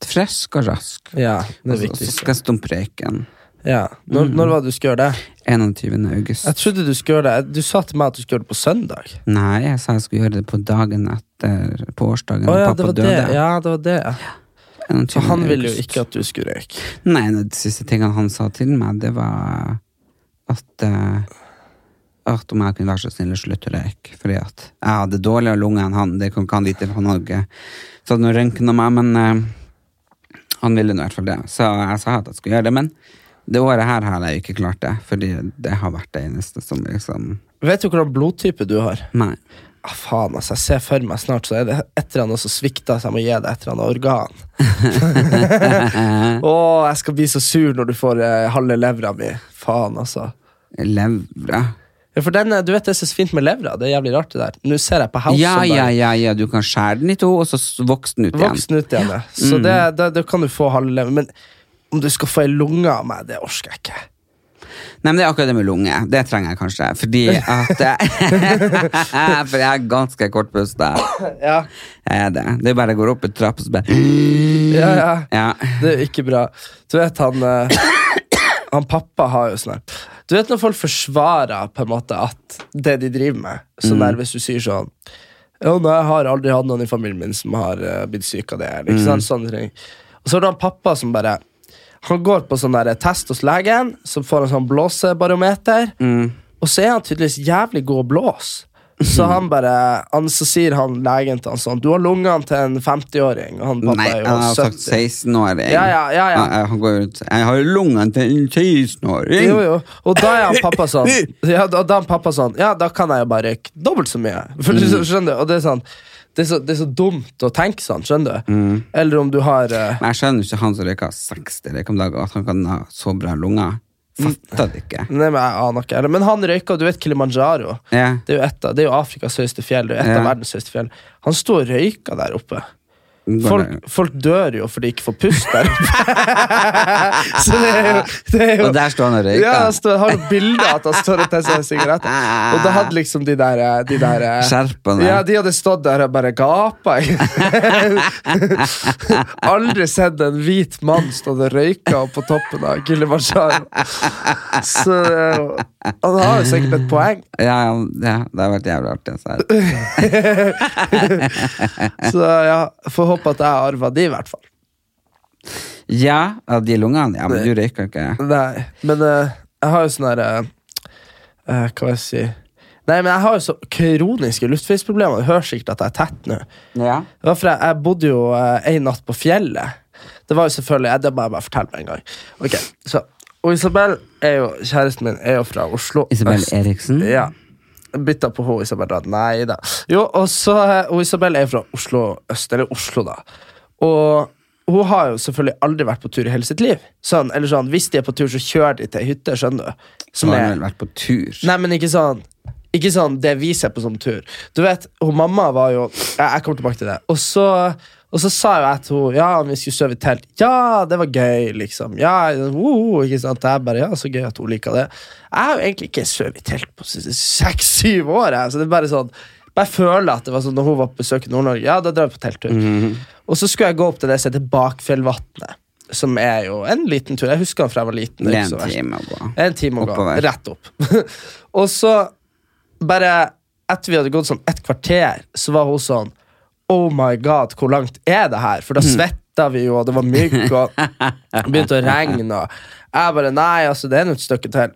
[SPEAKER 1] Frisk og rask.
[SPEAKER 2] Ja,
[SPEAKER 1] Og
[SPEAKER 2] det er
[SPEAKER 1] så så
[SPEAKER 2] viktig. Mm.
[SPEAKER 1] skal jeg stumpe røyken.
[SPEAKER 2] Ja. Når, når var det du skulle gjøre det?
[SPEAKER 1] 21. august.
[SPEAKER 2] Jeg trodde Du skulle gjøre det Du sa til meg at du skulle gjøre det på søndag.
[SPEAKER 1] Nei, jeg sa jeg skulle gjøre det på dagen etter, på årsdagen
[SPEAKER 2] Å
[SPEAKER 1] da
[SPEAKER 2] ja, det
[SPEAKER 1] pappa
[SPEAKER 2] var det.
[SPEAKER 1] døde.
[SPEAKER 2] Ja, det var det. ja.
[SPEAKER 1] 21.
[SPEAKER 2] For han ville jo
[SPEAKER 1] august.
[SPEAKER 2] ikke at du skulle røyke.
[SPEAKER 1] Nei, en av de siste tingene han sa til meg, det var at eh, at om jeg kunne være så snill å slutte å røyke. Fordi at jeg hadde dårligere lunger enn han. Det kan ikke han vite, for han hadde ikke tatt noen røntgen av meg. Men eh, han ville nå i hvert fall det. Så jeg sa at jeg skulle gjøre det. Men det året her har jeg ikke klart det. Fordi det har vært det eneste som liksom
[SPEAKER 2] Vet du hvordan blodtype du har?
[SPEAKER 1] Nei.
[SPEAKER 2] Ah, faen, altså. Jeg ser for meg snart så er det et eller annet som svikter, så jeg må gi deg et eller annet organ. Å, jeg skal bli så sur når du får eh, halve levra mi. Faen, altså.
[SPEAKER 1] Levra.
[SPEAKER 2] Ja, for den, eh, du vet det som er så fint med levra? Det er jævlig rart, det der. Nå ser jeg på House
[SPEAKER 1] Ja,
[SPEAKER 2] som Altså bare
[SPEAKER 1] ja, ja, ja, du kan skjære den i to, og så s- vokse den ut igjen.
[SPEAKER 2] voksen ut igjen. ja. Mm. Så det, det, det kan du få halve levra. Men om du skal få ei lunge av meg, det orker jeg ikke.
[SPEAKER 1] Nei, men Det er akkurat det med lunge. Det trenger jeg kanskje. Fordi at For jeg er ganske kortpusta.
[SPEAKER 2] Ja,
[SPEAKER 1] Jeg er det. Det er bare jeg går opp en trapp og så bare
[SPEAKER 2] ja, ja.
[SPEAKER 1] Ja.
[SPEAKER 2] Det er ikke bra. Du vet, han eh, Han pappa har jo sånn her Du vet når folk forsvarer på en måte at det de driver med,
[SPEAKER 1] Mm.
[SPEAKER 2] sånn der hvis du sier sånn ja, nei, jeg har aldri hatt noen i familien min som har eh, blitt syk av det. Eller, ikke
[SPEAKER 1] Mm.
[SPEAKER 2] sant? Sånne ting. Og så er det han pappa som bare Han går på sånn der test hos legen, så får han sånn blåsebarometer,
[SPEAKER 1] Mm.
[SPEAKER 2] og så er han tydeligvis jævlig god å blåse. Så han bare, han, så sier han legen til han sånn Du har lungene til en 50-åring. Og han pappa
[SPEAKER 1] Nei,
[SPEAKER 2] er
[SPEAKER 1] han
[SPEAKER 2] jo
[SPEAKER 1] har sagt
[SPEAKER 2] 70.
[SPEAKER 1] 16-åring.
[SPEAKER 2] Ja, ja, ja, ja.
[SPEAKER 1] Han- Han går ut Jeg har jo lungene til en 16-åring!
[SPEAKER 2] Jo, jo. Og da er han pappa sånn Ja, da, da er han pappa sånn Ja, da kan jeg jo bare røyke dobbelt så mye. For, du Skjønner du? Og det er sånn det er, så, det er så dumt å tenke sånn, skjønner du? Eller om du har eh,
[SPEAKER 1] Men jeg skjønner ikke han som røyker 60 røyk om dagen, at han kan ha så bra lunger. Fatter det ikke.
[SPEAKER 2] Nei, men jeg aner ikke. Eller, men han røyka, du vet Kilimanjaro.
[SPEAKER 1] Ja.
[SPEAKER 2] Det er jo, et av, det er jo Afrikas høyeste fjell. Det er jo et
[SPEAKER 1] Ja.
[SPEAKER 2] av verdens høyeste fjell. Han sto og røyka der oppe.
[SPEAKER 1] Går det-
[SPEAKER 2] Folk, folk dør jo fordi de ikke får pust der oppe. Så det er jo, det er jo
[SPEAKER 1] Og der står han og røyker.
[SPEAKER 2] Ja, han står- har jo bilde av at han står og tesser en sigarett. Og da hadde liksom de der, eh, de der eh,
[SPEAKER 1] Skjerpene.
[SPEAKER 2] Ja, de hadde stått der og bare gapa. Aldri sett en hvit mann stå og røyke opp på toppen av Kilimanjaro. Så eh, han har jo sikkert et poeng.
[SPEAKER 1] Ja, ja, ja, det har vært jævlig artig. altså. Så her.
[SPEAKER 2] Så ja, får håpe at jeg arva de, i hvert fall.
[SPEAKER 1] Ja, av de lungene? Ja, men du røyker ikke.
[SPEAKER 2] Nei, men eh, jeg har jo sånn her eh, eh, Hva skal jeg si Nei, men jeg har jo så kroniske luftveisproblemer. Du hører sikkert at jeg er tett nå.
[SPEAKER 1] Ja.
[SPEAKER 2] Det var fordi jeg, jeg bodde jo eh, en natt på fjellet. Det var jo selvfølgelig jeg, Det må jeg bare fortelle med en gang. Ok, så og Isabel, er jo, kjæresten min, er jo fra Oslo.
[SPEAKER 1] Isabel
[SPEAKER 2] øst.
[SPEAKER 1] Eriksen?
[SPEAKER 2] Ja. Bytta på henne, Isabel. Da. Nei da. Jo, og så, eh, og Isabel er fra Oslo øst, eller Oslo, da. Og hun har jo selvfølgelig aldri vært på tur i hele sitt liv. Sånn, eller sånn, Hvis de er på tur, så kjører de til ei hytte, skjønner du.
[SPEAKER 1] Nå
[SPEAKER 2] Som
[SPEAKER 1] har
[SPEAKER 2] er
[SPEAKER 1] han vel vært på tur.
[SPEAKER 2] Nei, men ikke sånn Ikke sånn det vi ser på som tur. Du vet, hun Mamma var jo Jeg, jeg kommer tilbake til det. Og så, og så sa jo jeg til henne ja, vi skulle sove i telt. Ja, det var gøy, liksom. Ja, woo, ikke sant? Jeg bare, ja, Så gøy at hun liker det. Jeg har jo egentlig ikke sovet i telt på seks-syv år. Jeg. Så det er bare sånn bare føler at det var sånn når hun var på besøk i Nord-Norge. Ja, da drar vi på telttur.
[SPEAKER 1] Mhm.
[SPEAKER 2] Og så skulle jeg gå opp til det som heter Bakfjellvatnet, som er jo en liten tur. Jeg husker den fra jeg var liten.
[SPEAKER 1] Det
[SPEAKER 2] det er
[SPEAKER 1] er en
[SPEAKER 2] ikke så verst.
[SPEAKER 1] time å gå.
[SPEAKER 2] En time å gå.
[SPEAKER 1] Oppover.
[SPEAKER 2] Rett opp. og så, bare etter vi hadde gått sånn et kvarter, så var hun sånn Oh my god, hvor langt er det her? For da svetta vi jo, og det var mygg, og begynte å regne. Og jeg bare Nei, altså, det er nå et stykke til.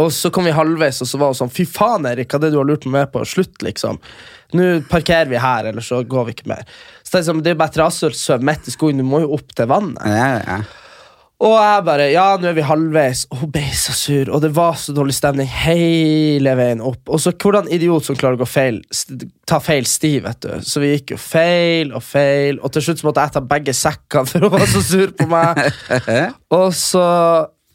[SPEAKER 2] Og så kom vi halvveis, og så var hun sånn Fy faen, Erik, hva er det du har lurt meg med på? Slutt, liksom. Nå parkerer vi her, eller så går vi ikke mer. Så tenkte jeg sånn, Det er jo bare trassøl søv midt i skogen, du må jo opp til vannet.
[SPEAKER 1] Ja, ja.
[SPEAKER 2] Og jeg bare Ja, nå er vi halvveis. Og hun ble så sur, og det var så dårlig stemning hele veien opp. Og så hvordan idiot som klarer å gå feil, st- ta feil sti, vet du. Så vi gikk jo feil og feil, og til slutt så måtte jeg ta begge sekkene, for hun var så sur på meg. og så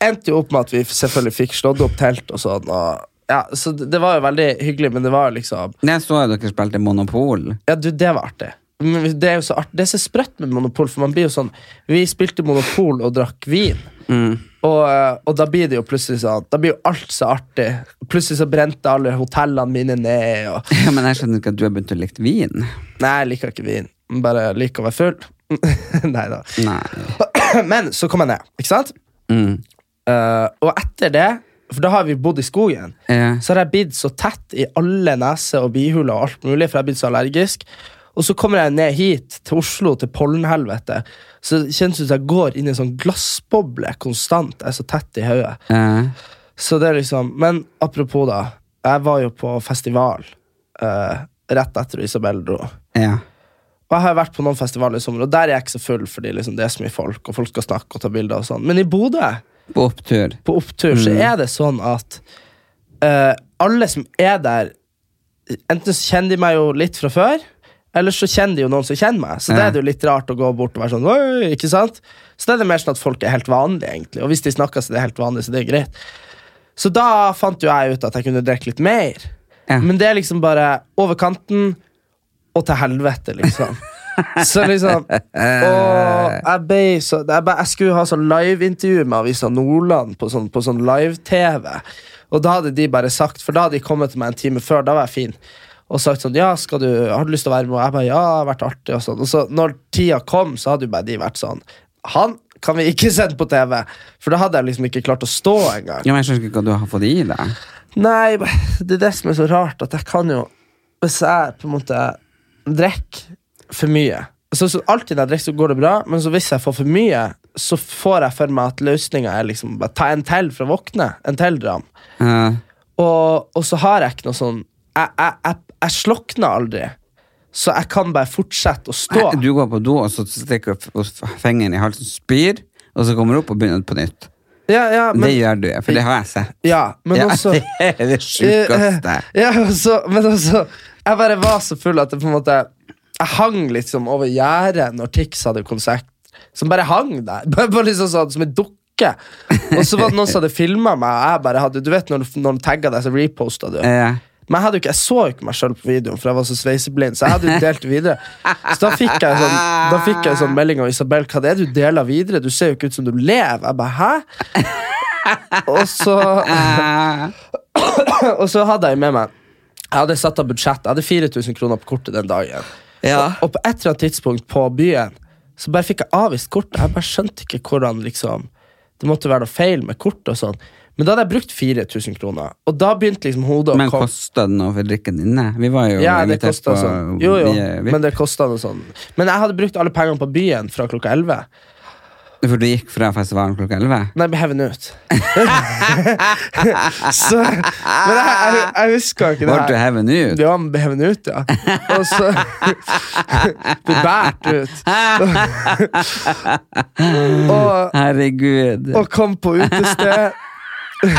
[SPEAKER 2] endte jo opp med at vi selvfølgelig fikk slått opp telt og sånn. Og, ja, så det, det var jo veldig hyggelig, men det var jo liksom
[SPEAKER 1] Men Jeg så jo dere spilte Monopol.
[SPEAKER 2] ja, du, det var artig. Men det er jo så artig. Det er så sprøtt med Monopol, for man blir jo sånn Vi spilte Monopol og drakk vin. Og, eh, og da blir det jo plutselig sånn Da blir jo alt så artig. Plutselig så brente alle hotellene mine ned. Og,
[SPEAKER 1] Ja, men jeg skjønner ikke at du har begynt å like vin.
[SPEAKER 2] nei, jeg liker ikke vin. Bare liker å være full. nei da.
[SPEAKER 1] Nei.
[SPEAKER 2] Men så kom jeg ned, ikke sant?
[SPEAKER 1] Mm.
[SPEAKER 2] Eh, og etter det, for da har vi bodd i skogen,
[SPEAKER 1] Ja.
[SPEAKER 2] så har jeg blitt så tett i alle nese- og bihuler og alt mulig, for jeg har blitt så allergisk. Og så kommer jeg ned hit, til Oslo, til pollenhelvete. Så det kjennes ut som jeg går inn i en sånn glassboble konstant. Jeg er så tett i hodet.
[SPEAKER 1] Eh,
[SPEAKER 2] Så det er liksom Men apropos, da. Jeg var jo på festival eh, rett etter Isabel dro.
[SPEAKER 1] ja.
[SPEAKER 2] Og jeg har vært på noen festivaler i sommer, og der er jeg ikke så full fordi liksom, det er så mye folk, og folk skal snakke og ta bilder og sånn. Men i Bodø
[SPEAKER 1] På opptur.
[SPEAKER 2] på opptur, så
[SPEAKER 1] Mm.
[SPEAKER 2] er det sånn at eh, alle som er der, enten så kjenner de meg jo litt fra før, eller så kjenner de jo noen som kjenner meg. Så da
[SPEAKER 1] Ja.
[SPEAKER 2] er det jo litt rart å gå bort og være sånn Oi! ikke sant? Så da er det mer sånn at folk er helt vanlige, egentlig. Og hvis de snakker, så er det helt vanlig, så det er greit. Så da fant jo jeg ut at jeg kunne drikke litt mer.
[SPEAKER 1] Ja.
[SPEAKER 2] Men det er liksom bare over kanten og til helvete, liksom. Så liksom Og jeg ble så Jeg, ble, jeg skulle ha sånn liveintervju med Avisa Nordland på sånn, på sånn live-TV. Og da hadde de bare sagt For da hadde de kommet til meg en time før, da var jeg fin. Og sagt sånn Ja, skal du, har du lyst til å være med? Og jeg bare Ja, det har vært artig. Og sånn Og så når tida kom, så hadde jo bare de vært sånn Han kan vi ikke sende på TV! For da hadde jeg liksom ikke klart å stå engang.
[SPEAKER 1] Ja, men jeg skjønner ikke hva du har fått i deg.
[SPEAKER 2] Nei, det er det som er så rart, at jeg kan jo Hvis jeg på en måte drikker for mye så, så Alltid når jeg drikker, så går det bra, men så hvis jeg får for mye, så får jeg for meg at løsninga er liksom bare ta en til for å våkne. En til dram.
[SPEAKER 1] Eh,
[SPEAKER 2] Og, og så har jeg ikke noe sånn Jeg, jeg, jeg, jeg slokner aldri, så jeg kan bare fortsette å stå.
[SPEAKER 1] du går på do, og så stikker du f- fingeren i halsen, spyr, og så kommer du opp og begynner på nytt.
[SPEAKER 2] Ja, ja,
[SPEAKER 1] det
[SPEAKER 2] men,
[SPEAKER 1] gjør du, for det har jeg sett.
[SPEAKER 2] ja, men
[SPEAKER 1] ja,
[SPEAKER 2] også
[SPEAKER 1] det er det sjukeste.
[SPEAKER 2] Eh, Ja, og så- men altså Jeg bare var så full at det på en måte Jeg hang liksom over gjerdet når Tix hadde konsert. Som bare hang der. Bare, bare liksom sånn, Som en dukke. Og så var det noen som hadde filma meg, og jeg bare hadde Du vet når, du- når de tagga deg, så reposta du.
[SPEAKER 1] Eh,
[SPEAKER 2] Men jeg, hadde jo ikke, jeg så jo ikke meg sjøl på videoen, for jeg var så sveiseblind. Så jeg hadde jo delt videre Så da fikk jeg sånn, da fikk jeg sånn melding av Isabel. Hva det er du deler videre? Du ser jo ikke ut som du lever. Jeg bare, hæ? Og så, og så hadde jeg med meg Jeg hadde satt av budsjett. Jeg hadde 4000 kroner på kortet den dagen.
[SPEAKER 1] Ja.
[SPEAKER 2] Og, og på et eller annet tidspunkt på byen Så bare fikk jeg avvist kortet. Jeg bare skjønte ikke hvordan liksom Det måtte være noe feil med kortet og sånn. Men da hadde jeg brukt 4000 kroner, og da begynte liksom hodet å
[SPEAKER 1] Men
[SPEAKER 2] komme.
[SPEAKER 1] kosta det noe for drikken din? Nei, vi var jo
[SPEAKER 2] Ja, det
[SPEAKER 1] invitert
[SPEAKER 2] kostet
[SPEAKER 1] på
[SPEAKER 2] sånn. Jo, jo,
[SPEAKER 1] vi- vi-
[SPEAKER 2] men det kostet noe sånn. Men jeg hadde brukt alle pengene på byen fra klokka 11.
[SPEAKER 1] For du gikk fra festivalen klokka 11?
[SPEAKER 2] Nei, jeg ble hevet ut. så, men jeg, jeg, jeg husker ikke det
[SPEAKER 1] Ble du heaven ut?
[SPEAKER 2] Ja, men ble hevet ut, ja. Og så Ble båret ut. og,
[SPEAKER 1] Herregud.
[SPEAKER 2] og kom på utested. og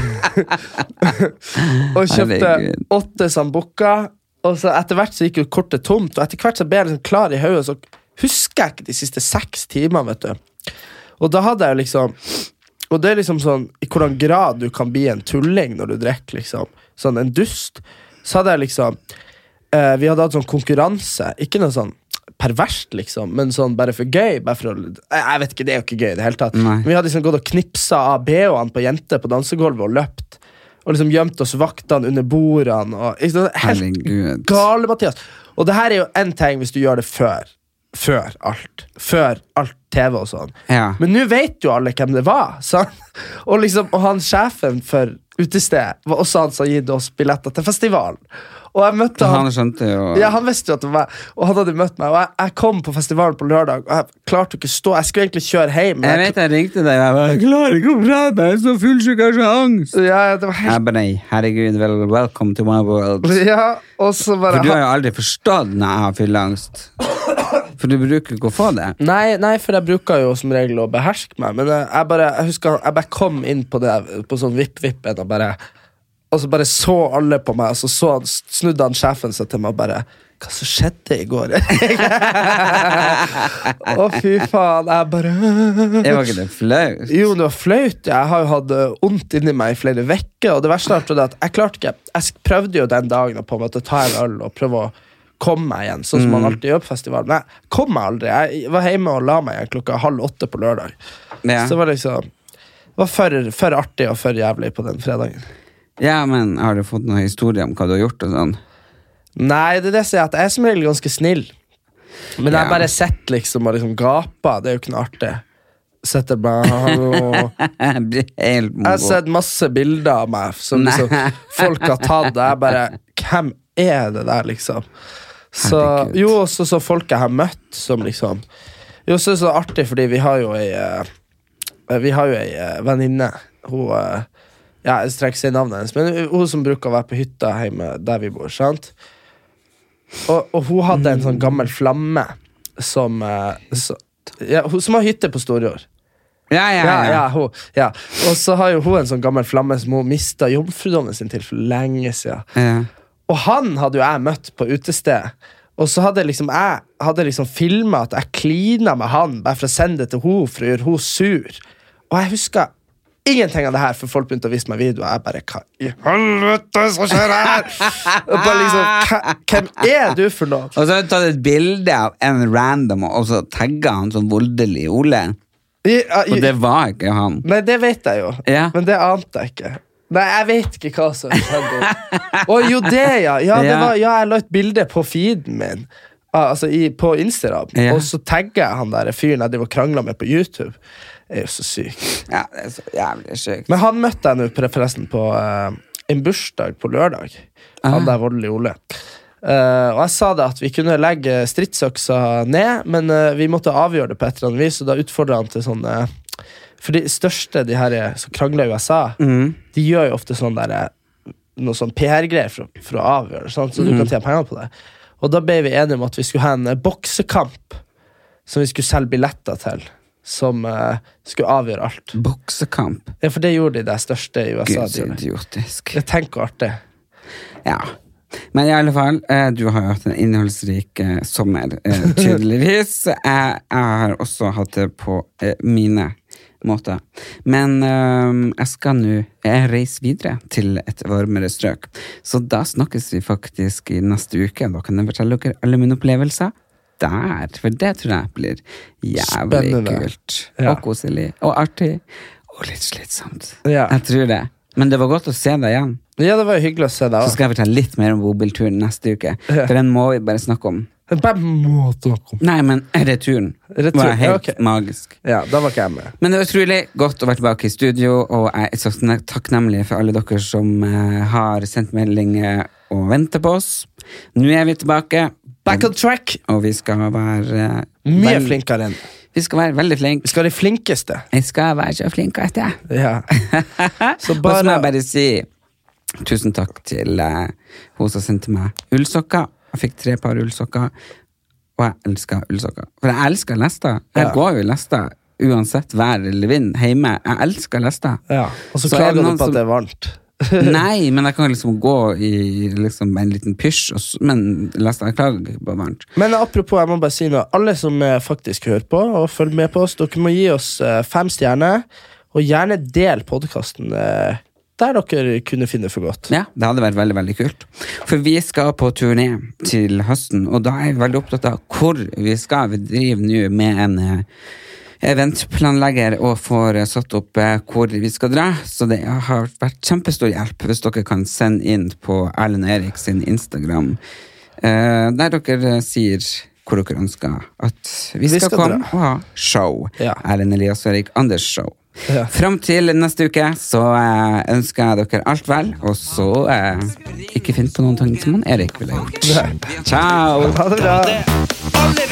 [SPEAKER 2] kjøpte
[SPEAKER 1] Herregud.
[SPEAKER 2] åtte sambuca. Og så etter hvert så gikk jo kortet tomt, og etter hvert så ble jeg liksom klar i hodet, så husker jeg ikke de siste seks timene, vet du. Og da hadde jeg jo liksom Og det er liksom sånn i hvordan grad du kan bli en tulling når du drikker, liksom. Sånn en dust. Så hadde jeg liksom eh, Vi hadde hatt sånn konkurranse, ikke noe sånn perverst, liksom, men sånn bare for gøy. Bare for å, jeg jeg vet ikke, det er jo ikke gøy i det hele tatt.
[SPEAKER 1] Nei.
[SPEAKER 2] Vi hadde liksom gått og knipsa av BH-ene på jenter på dansegulvet og løpt. Og liksom gjemt oss vaktene under bordene. Og, ikke sant?
[SPEAKER 1] Herregud.
[SPEAKER 2] helt gale, Mathias. Og det her er jo én ting hvis du gjør det før. Før alt. Før alt TV og sånn.
[SPEAKER 1] Ja.
[SPEAKER 2] Men nå vet jo alle hvem det var. Sant? Og liksom, og han sjefen for utestedet var også han som hadde gitt oss billetter til festivalen. Og jeg møtte
[SPEAKER 1] Han
[SPEAKER 2] han,
[SPEAKER 1] skjønte jo
[SPEAKER 2] ja, han visste jo at det var meg, og han hadde møtt meg. Og jeg, jeg kom på festivalen på lørdag, og jeg klarte jo ikke stå. Jeg skulle egentlig kjøre hjem. men
[SPEAKER 1] Jeg vet jeg ringte deg, og jeg bare, jeg klarer ikke å prate, jeg er så fullsjuk, jeg har så angst.
[SPEAKER 2] Ja, ja, det var helt
[SPEAKER 1] Jeg bare, nei, herregud, vel, welcome to my world.
[SPEAKER 2] Ja, og så bare
[SPEAKER 1] For du har jo aldri forstått når jeg har fylleangst. For du bruker ikke å få det.
[SPEAKER 2] Nei, nei, for jeg bruker jo som regel å beherske meg, men jeg, jeg bare jeg husker jeg bare kom inn på det På sånn vipp-vippen og bare Og så bare så alle på meg, og så, så han- snudde han sjefen seg til meg og bare Hva som skjedde i går? Å, fy faen. Jeg bare
[SPEAKER 1] Det var ikke det flaut.
[SPEAKER 2] Jo, det var flaut. Jeg har jo hatt eh, vondt inni meg i flere uker. Og det verste er at det at jeg klarte ikke Jeg sk- prøvde jo den dagen å på en måte ta en øl og prøve å komme meg igjen, sånn som man
[SPEAKER 1] Mm.
[SPEAKER 2] alltid gjør på festival. Men jeg kom meg aldri. Jeg var hjemme og la meg igjen klokka halv åtte på lørdag.
[SPEAKER 1] Ja.
[SPEAKER 2] Så det var liksom det var for, for artig og for jævlig på den fredagen.
[SPEAKER 1] Ja, men har du fått noen historie om hva du har gjort og sånn?
[SPEAKER 2] Nei, det er det jeg sier, at jeg er som regel ganske snill. Men
[SPEAKER 1] Ja.
[SPEAKER 2] jeg bare sitter liksom og liksom gaper. Det er jo ikke noe artig. Sitter bare og
[SPEAKER 1] Jeg blir helt
[SPEAKER 2] Jeg har
[SPEAKER 1] mongo.
[SPEAKER 2] sett masse bilder av meg som
[SPEAKER 1] Nei.
[SPEAKER 2] liksom, folk har tatt. Jeg bare Hvem er det der, liksom? Så,
[SPEAKER 1] Herregud.
[SPEAKER 2] jo, også så folk jeg har møtt, som liksom Jo, så er det så artig, fordi vi har jo ei eh, Vi har jo ei eh, venninne. Hun eh, ja, Jeg trenger ikke si navnet hennes, men hun som bruker å være på hytta hjemme der vi bor. sant? Og, og hun hadde en sånn gammel flamme som, eh, så, ja, hun, som har hytte på Storjord.
[SPEAKER 1] Ja, ja,
[SPEAKER 2] Ja,
[SPEAKER 1] ja.
[SPEAKER 2] ja, hun, ja. Og så har jo hun en sånn gammel flamme som hun mista jomfrudommen sin til for lenge siden.
[SPEAKER 1] Ja.
[SPEAKER 2] Og han hadde jo jeg møtt på utestedet. Og så hadde liksom jeg hadde liksom filma at jeg klina med han bare for å sende det til henne for å gjøre henne sur. Og jeg huska ingenting av det her, for folk begynte å vise meg videoer. Jeg bare Hva i helvete som skjer her?! Og bare liksom, "Hva- Hvem er du for noe?
[SPEAKER 1] Og så har du tatt et bilde av en random, og så tagget han som voldelig Ole.
[SPEAKER 2] I- ja, i-
[SPEAKER 1] Og det var ikke han.
[SPEAKER 2] Nei, det vet jeg jo,
[SPEAKER 1] Ja.
[SPEAKER 2] men det ante jeg ikke. Nei, jeg vet ikke hva som skjedde. Å, jo, det, ja. Ja, det
[SPEAKER 1] Ja.
[SPEAKER 2] var, ja, jeg la et bilde på feeden min. Ah, Altså i, på Instagram,
[SPEAKER 1] Ja.
[SPEAKER 2] og så tagger jeg han der fyren jeg driver og krangler med på YouTube. Jeg er jo så syk.
[SPEAKER 1] Ja, det er så jævlig sykt.
[SPEAKER 2] Men han møtte jeg nå pre- forresten på eh, en bursdag på lørdag. Han der voldelige Ole. Eh, og jeg sa det at vi kunne legge stridsøksa ned, men eh, vi måtte avgjøre det på et eller annet vis, og da utfordra han til sånn eh, For de største, de her eh, som krangler i USA, de gjør jo ofte sånn der, eh, noe sånn PR-greier for, å- for å avgjøre, sant? så du kan tjene penger på det. Og da ble vi enige om at vi skulle ha en eh, boksekamp som vi skulle selge billetter til, som eh, skulle avgjøre alt.
[SPEAKER 1] Boksekamp.
[SPEAKER 2] Ja, for det gjorde de der største i USA.
[SPEAKER 1] Gud,
[SPEAKER 2] de
[SPEAKER 1] så
[SPEAKER 2] gjorde.
[SPEAKER 1] idiotisk.
[SPEAKER 2] Jeg tenker hvor artig.
[SPEAKER 1] Ja. Men i alle fall, eh, du har jo hatt en innholdsrik eh, sommer, eh, tydeligvis. Jeg, jeg har også hatt det på eh, mine måte. Men øhm, jeg skal nå jeg reiser videre til et varmere strøk. Så da snakkes vi faktisk i neste uke. Da kan jeg fortelle dere alle mine opplevelser der. For det tror jeg blir jævlig
[SPEAKER 2] Spennende.
[SPEAKER 1] kult.
[SPEAKER 2] Ja.
[SPEAKER 1] Og koselig. Og artig. Og litt slitsomt.
[SPEAKER 2] Ja.
[SPEAKER 1] Jeg tror det. Men det var godt å se deg igjen.
[SPEAKER 2] Ja, det var jo hyggelig å se
[SPEAKER 1] Så
[SPEAKER 2] deg òg.
[SPEAKER 1] skal jeg fortelle litt mer om bobilturen neste uke.
[SPEAKER 2] Ah. Ja.
[SPEAKER 1] For den må vi bare snakke om.
[SPEAKER 2] Bare må snakke om.
[SPEAKER 1] Nei, men returen,
[SPEAKER 2] Retur,
[SPEAKER 1] var
[SPEAKER 2] ja,
[SPEAKER 1] helt
[SPEAKER 2] ok.
[SPEAKER 1] magisk.
[SPEAKER 2] Ja, da var ikke jeg med.
[SPEAKER 1] Men det er utrolig godt å være tilbake i studio, og jeg er så snak- takknemlig for alle dere som eh, har sendt meldinger og venter på oss. Nå er vi tilbake,
[SPEAKER 2] Back on track!
[SPEAKER 1] og vi skal være eh,
[SPEAKER 2] Mye
[SPEAKER 1] vel-
[SPEAKER 2] flinkere enn
[SPEAKER 1] Vi skal være veldig
[SPEAKER 2] Vi
[SPEAKER 1] flinke.
[SPEAKER 2] skal være de flinkeste.
[SPEAKER 1] Jeg skal være så flink at jeg
[SPEAKER 2] Ja. Så
[SPEAKER 1] Og så må
[SPEAKER 2] bare
[SPEAKER 1] jeg bare si tusen takk til eh, hun som sendte meg ullsokker. Jeg fikk tre par ullsokker, og jeg elsker ullsokker. For jeg elsker lester. Jeg
[SPEAKER 2] Ja.
[SPEAKER 1] går jo i lester uansett vær eller vind hjemme. Jeg elsker lester.
[SPEAKER 2] Ja. Og så
[SPEAKER 1] er det
[SPEAKER 2] klager du
[SPEAKER 1] noen
[SPEAKER 2] på
[SPEAKER 1] som-
[SPEAKER 2] at det er varmt.
[SPEAKER 1] Nei, men jeg kan liksom gå i liksom, en liten pysj, og s- men lester jeg klager ikke på varmt.
[SPEAKER 2] Men apropos, jeg må bare si noe. Alle som eh, faktisk hører på og følger med på oss, dere må gi oss eh, fem stjerner, og gjerne del podkasten der dere kunne finne for godt.
[SPEAKER 1] Ja, det hadde vært veldig, veldig kult. For vi skal på turné til høsten, og da er jeg veldig opptatt av hvor vi skal. Vi driver nå med en eh, eventplanlegger og får eh, satt opp eh, hvor vi skal dra, så det har vært kjempestor hjelp hvis dere kan sende inn på Erlend Erik sin Instagram, eh, der dere eh, sier hvor dere ønsker at vi skal,
[SPEAKER 2] skal
[SPEAKER 1] komme
[SPEAKER 2] dra.
[SPEAKER 1] og ha show.
[SPEAKER 2] Ja.
[SPEAKER 1] Erlend Elias og Erik Anders show.
[SPEAKER 2] Ja.
[SPEAKER 1] Fram til neste uke så eh, ønsker jeg dere alt vel, og så eh, ikke finn på noen ting som han Erik ville gjort. Ciao!
[SPEAKER 2] Ha det bra!